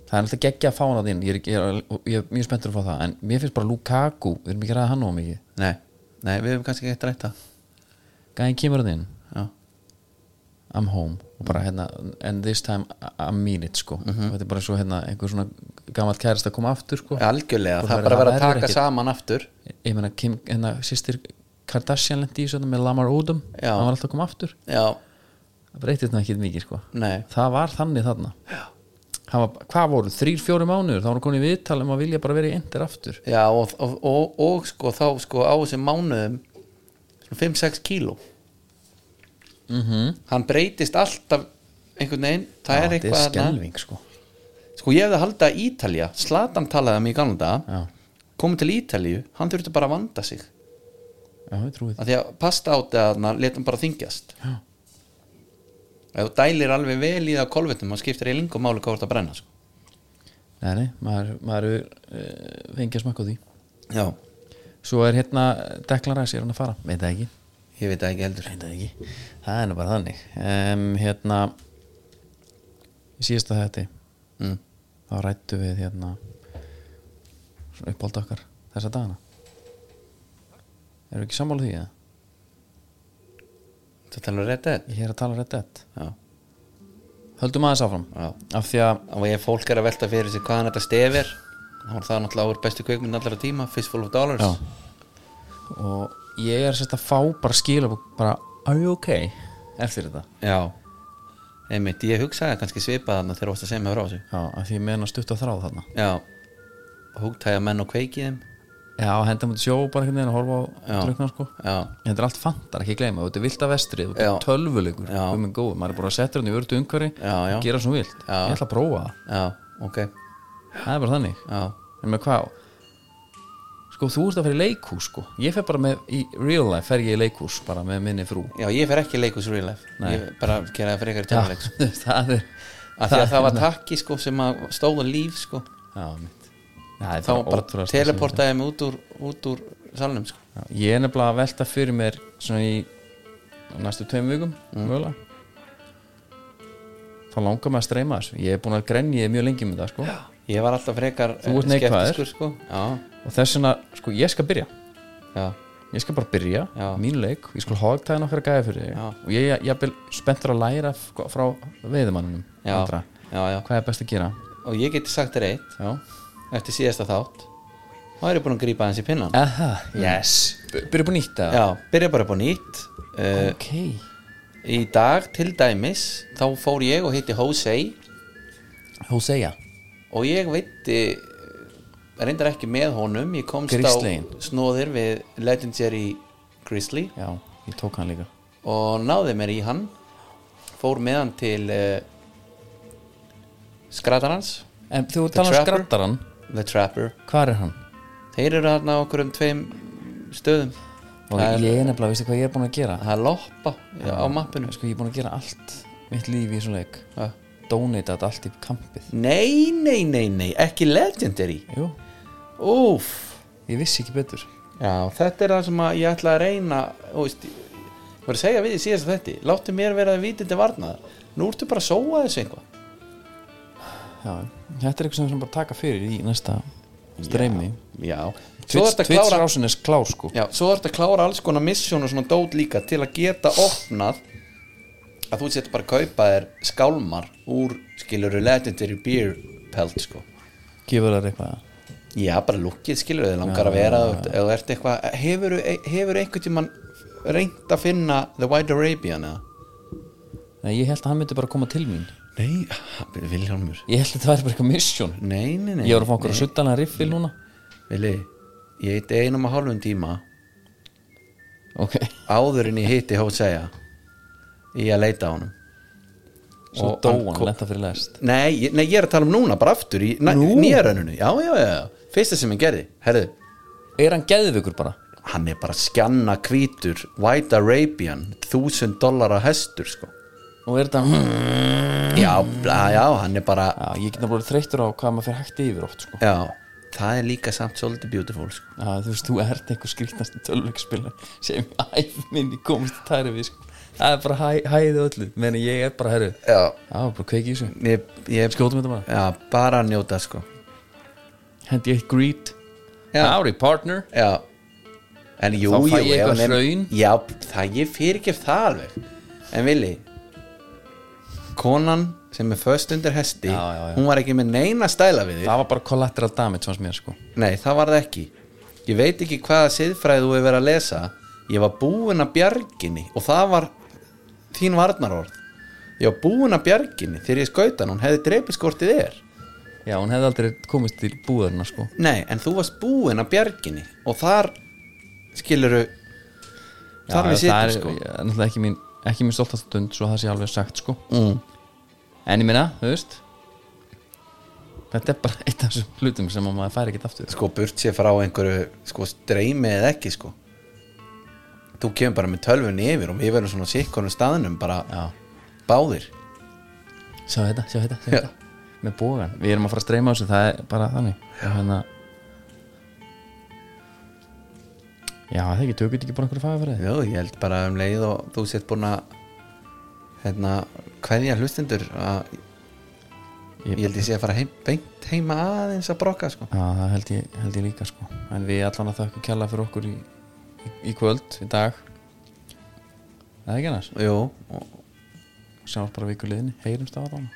[SPEAKER 1] Það er alltaf geggja að fá hann að inn ég er, ég, er, og ég er mjög spenntur að fá það En mér finnst bara Lukaku, við erum ekki að ræða hann á mikið
[SPEAKER 2] Nei, nei, við hefum kannski ekki rætt það
[SPEAKER 1] Gæðin kemur að inn,
[SPEAKER 2] Já,
[SPEAKER 1] I'm home Og bara hérna, and this time I- I mean it sko
[SPEAKER 2] Mhm.
[SPEAKER 1] Og þetta er bara svo hérna, einhver svona gamall kærist að koma aftur sko
[SPEAKER 2] algjörlega,
[SPEAKER 1] Bara
[SPEAKER 2] það er
[SPEAKER 1] verður-
[SPEAKER 2] bara að vera
[SPEAKER 1] það verður
[SPEAKER 2] að taka
[SPEAKER 1] ekkert-
[SPEAKER 2] saman aftur
[SPEAKER 1] Ég meina, Kim, hérna, sýstir Kardashian lendi í svona með Lamar Odom
[SPEAKER 2] Já.
[SPEAKER 1] Hann var alltaf að koma aftur
[SPEAKER 2] Já,
[SPEAKER 1] Það breytist það ekki mikið sko
[SPEAKER 2] nei,
[SPEAKER 1] það var þannig þarna Það var, hvað voru, þrýr, fjóri mánuður þá voru komin í viðtal um að vilja bara vera í endir aftur
[SPEAKER 2] já og, og, og, og sko þá sko á þessum mánuðum 5-6 kíló
[SPEAKER 1] mm -hmm.
[SPEAKER 2] hann breytist alltaf einhvern veginn, það er eitthvað
[SPEAKER 1] er
[SPEAKER 2] þarna.
[SPEAKER 1] skelving sko
[SPEAKER 2] sko ég hefði haldið að Ítalja Slatan talaði um í gamla dag
[SPEAKER 1] já,
[SPEAKER 2] komið til Ítalju, hann þurfti bara að vanda sig
[SPEAKER 1] já, ég trúi því
[SPEAKER 2] af því að pasta átti að hann leta hann bara þingjast
[SPEAKER 1] Já.
[SPEAKER 2] ef þú dælir alveg vel í það á kolvetnum þá skiptir ég lingum máli hvað þú ert að brenna sko.
[SPEAKER 1] nei, nei, maður, maður er uh, fengið að smakka á því
[SPEAKER 2] já,
[SPEAKER 1] svo er hérna Declan Rice er hann að fara veit það ekki,
[SPEAKER 2] ég veit það ekki heldur
[SPEAKER 1] veit það ekki það er nú bara þannig um, hérna í síðasta þetta
[SPEAKER 2] mm.
[SPEAKER 1] þá rættu við hérna svona uppáld okkar þessa dagana erum við ekki sammála því að
[SPEAKER 2] það talar rétt eða
[SPEAKER 1] ég er að tala rétt þetta
[SPEAKER 2] um já,
[SPEAKER 1] höldum aðeins áfram
[SPEAKER 2] já
[SPEAKER 1] af því að
[SPEAKER 2] og ef fólk er að velta fyrir sig hvaðan þetta stefir þá er það náttúrulega úr bestu kveikmynd allra tíma Fistful of Dollars
[SPEAKER 1] já, og ég er sérst að fá bara skila bara are you ok eftir þetta
[SPEAKER 2] Já Einmitt, ég hugsaði kannski svipað þarna þegar þú varst að segja mig frá þessu
[SPEAKER 1] já, af því ég meðan að stutta þráð þarna
[SPEAKER 2] Já Húgtæja menn og kveikið þeim
[SPEAKER 1] já, henda mútið sjó bara einhvern veginn að horfa á
[SPEAKER 2] Já.
[SPEAKER 1] dröknar sko
[SPEAKER 2] Já,
[SPEAKER 1] þetta er allt fantar, ekki gleyma, þetta er vilt af vestrið þetta
[SPEAKER 2] Já.
[SPEAKER 1] er tölvuleikur,
[SPEAKER 2] Já.
[SPEAKER 1] um en góð maður er bara að setja hann í vördu umhverfi
[SPEAKER 2] Já, já.
[SPEAKER 1] og gera svona vilt,
[SPEAKER 2] Já.
[SPEAKER 1] ég ætla að prófa það
[SPEAKER 2] já, ok
[SPEAKER 1] það er bara þannig,
[SPEAKER 2] Já,
[SPEAKER 1] en með hvað sko, þú ert að fyrir leikhús sko ég fer bara með, í real life fer ég í leikhús bara með minni frú
[SPEAKER 2] já ég fer ekki í leikus real life
[SPEAKER 1] Nei.
[SPEAKER 2] Ég bara gera það fyrir ykkur
[SPEAKER 1] Já,
[SPEAKER 2] tjáleiks
[SPEAKER 1] það er
[SPEAKER 2] Af því að það var takki sko sem að stóða líf sko
[SPEAKER 1] Já, mitt Já,
[SPEAKER 2] Þá bara teleportaði mig út úr, út úr salnum sko
[SPEAKER 1] Já, Ég er nefnilega að velta fyrir mér
[SPEAKER 2] Mm.
[SPEAKER 1] svona í á næstu tveim vikum, mögulega þá langar maður að streyma þessu ég er búin að grenja þig mjög lengi með það sko.
[SPEAKER 2] Ég var alltaf frekar
[SPEAKER 1] Þú ert
[SPEAKER 2] eh,
[SPEAKER 1] neikvæður.
[SPEAKER 2] skeptískur, sko. Já,
[SPEAKER 1] og þess vegna, sko, ég skal byrja
[SPEAKER 2] já,
[SPEAKER 1] ég skal bara byrja,
[SPEAKER 2] Já.
[SPEAKER 1] mín leik ég skal hogtaði nokkra gæði fyrir þig
[SPEAKER 2] Já.
[SPEAKER 1] og ég er jafnvel spenntur að læra f- frá veiðimannunum
[SPEAKER 2] já,
[SPEAKER 1] andra.
[SPEAKER 2] já, já
[SPEAKER 1] hvað er best að gera
[SPEAKER 2] Og ég geti sagt þér eitt
[SPEAKER 1] já.
[SPEAKER 2] Eftir síðasta þátt Þá er ég búin að grípa hans í pinnan
[SPEAKER 1] Aha, yes B
[SPEAKER 2] Mm.
[SPEAKER 1] byrja búin nýtt eða?
[SPEAKER 2] Já, byrja bara upp á nýtt uh,
[SPEAKER 1] ok,
[SPEAKER 2] Í dag til dæmis Þá fór ég og hitti Hosei
[SPEAKER 1] þú segja
[SPEAKER 2] Og ég veitti eh, Reyndar ekki með honum Ég komst
[SPEAKER 1] Grizzlyin.
[SPEAKER 2] á snóðir við Legendary Grizzly
[SPEAKER 1] já, ég tók hann líka
[SPEAKER 2] og náði mér í hann fór með hann til uh, skratarans
[SPEAKER 1] en þú
[SPEAKER 2] The
[SPEAKER 1] talar um
[SPEAKER 2] Trapper.
[SPEAKER 1] skrattaran,
[SPEAKER 2] The Trapper
[SPEAKER 1] hvað er hann?
[SPEAKER 2] þeir eru hann á okkur um tveim stöðum
[SPEAKER 1] og
[SPEAKER 2] Það er-
[SPEAKER 1] ég er nefnilega, veistu hvað ég er búin að gera
[SPEAKER 2] það er loppa já, á mappinu
[SPEAKER 1] sko, ég er búin að gera allt mitt líf í svona leik
[SPEAKER 2] Ha.
[SPEAKER 1] donate þetta allt í kampið
[SPEAKER 2] nei, nei, nei, nei, ekki legendary
[SPEAKER 1] jú,
[SPEAKER 2] úf
[SPEAKER 1] ég vissi ekki betur
[SPEAKER 2] já, þetta er það sem að ég ætla að reyna þú veist, ég var að segja við því síðast þetta láttu mér vera að vitindi varnaðar nú ertu bara að sóa þessu einhvað
[SPEAKER 1] já, þetta er eitthvað sem sem bara taka fyrir í næsta streymi
[SPEAKER 2] já, svo
[SPEAKER 1] Twitch,
[SPEAKER 2] ertu að
[SPEAKER 1] Twitch
[SPEAKER 2] klára
[SPEAKER 1] rásin er klár sko
[SPEAKER 2] Já, svo ertu að klára alls konar misjón og svona dót líka til að geta opnað að þú setur bara að kaupa þér skálmar úr skiluru legendary beer pelt sko
[SPEAKER 1] gefur þær eitthvað
[SPEAKER 2] Já, bara lukkið skiluru þið langar að vera ja. eða ertu eitthvað, hefur, hefur einhvern tímann reynd að finna The White Arabian eða?
[SPEAKER 1] Nei, ég held að hann myndi bara koma til mín
[SPEAKER 2] Nei, ha, Vilhjálmur
[SPEAKER 1] ég held að það væri bara eitthvað mission
[SPEAKER 2] Nei, nei, nei Mm.
[SPEAKER 1] ég var að fá okkur að suttana riffil núna
[SPEAKER 2] Vili, ég heiti einum og hálfum tíma
[SPEAKER 1] ok,
[SPEAKER 2] áður en ég hitti Hóseja í að leita á honum
[SPEAKER 1] svo
[SPEAKER 2] Og hann
[SPEAKER 1] dóan
[SPEAKER 2] kom-
[SPEAKER 1] lenta fyrir lest
[SPEAKER 2] Nei, ég- nei, ég er að tala um núna, bara aftur í
[SPEAKER 1] Nú?
[SPEAKER 2] nýjarönunu, já, já, já, já Fyrsta sem hann gerði, herðu
[SPEAKER 1] er hann geðvikur bara?
[SPEAKER 2] Hann er bara skjanna hvítur White Arabian, 1000 dollara hestur, sko
[SPEAKER 1] og er þetta
[SPEAKER 2] Já, já, já, hann er bara
[SPEAKER 1] já, ég get náttúrulega þreyttur á hvað maður fyrir hægt yfir oft sko.
[SPEAKER 2] Já, það er líka samt svolítið beautiful, sko
[SPEAKER 1] já, þú veist, þú ert einhver skrítnast tölvökspilar sem ég æfminni komist að tæri við sko. það er bara hæ, hæðið öllu menn ég er bara herru já,
[SPEAKER 2] Já,
[SPEAKER 1] bara kveiki í þessu
[SPEAKER 2] ég, ég
[SPEAKER 1] skjótum þetta bara
[SPEAKER 2] Já, bara að njóta, sko
[SPEAKER 1] hendi ég eitt greet
[SPEAKER 2] Já.
[SPEAKER 1] howdy partner
[SPEAKER 2] Já En jú,
[SPEAKER 1] Þá fæ
[SPEAKER 2] jú,
[SPEAKER 1] ég
[SPEAKER 2] ef
[SPEAKER 1] eitthvað
[SPEAKER 2] hann er-
[SPEAKER 1] hraun.
[SPEAKER 2] Já, það ég fyrir ekki það alveg En Vili Konan sem er föst undir hesti
[SPEAKER 1] Já, já, já.
[SPEAKER 2] Hún var ekki með neina stæla við þig
[SPEAKER 1] það var bara collateral damage fannst mér sko
[SPEAKER 2] Nei, það var það ekki Ég veit ekki hvaða siðfræði þú hefur verið að lesa Ég var búinn að bjarginni Og það var þín varnarorð Ég var búinn að bjarginni Þegar ég skautan, hún hefði dreipið skortið þér
[SPEAKER 1] já, hún hefði aldrei komist til búðarna sko
[SPEAKER 2] Nei, en þú varst búinn að bjarginni Og þar skiluru Þar
[SPEAKER 1] Já,
[SPEAKER 2] við sittum
[SPEAKER 1] það er,
[SPEAKER 2] sko
[SPEAKER 1] ég- náttúrulega ekki mín, ekki mín stoltast stund svo það sé alveg sagt sko
[SPEAKER 2] Mm.
[SPEAKER 1] en ég minna, þú veist þetta er bara eitt af þessum hlutum sem að maður fær ekkert aftur
[SPEAKER 2] sko burt sér frá einhverju sko streymi eða ekki sko þú kemur bara með tölvunni yfir og við verðum svona sikkonum staðnum bara
[SPEAKER 1] Já.
[SPEAKER 2] báðir
[SPEAKER 1] sjá þetta, sjá þetta, sjá þetta með bógan, við erum að fara að streyma þessu það er bara þannig já, hérna, já það er ekki, tökum við ekki bara einhverju faga fyrir
[SPEAKER 2] Jú, ég held bara um leið og þú sért búin að hérna, hverja hlustendur að ég held ég sé að fara heim, beint heima aðeins að brokka sko
[SPEAKER 1] Já, það held ég, held ég líka sko En við allan að þökkum kjalla fyrir okkur í, í, í kvöld, í dag Það er ekki annars
[SPEAKER 2] Jú, og,
[SPEAKER 1] Sjáum bara viku liðinni, heyrumst á það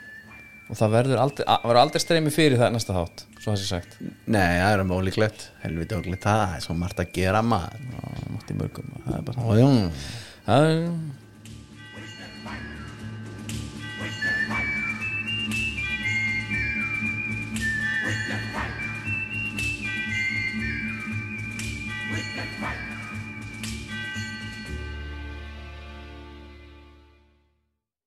[SPEAKER 1] Og það verður aldrei, að, verður aldrei streymi fyrir það næsta þátt Svo það sé sagt
[SPEAKER 2] nei, það er um ólíklegt helviti ólíklegt, það er svo margt að gera maður
[SPEAKER 1] Já, Mátti mörgum, það er bara
[SPEAKER 2] og jú
[SPEAKER 1] Það er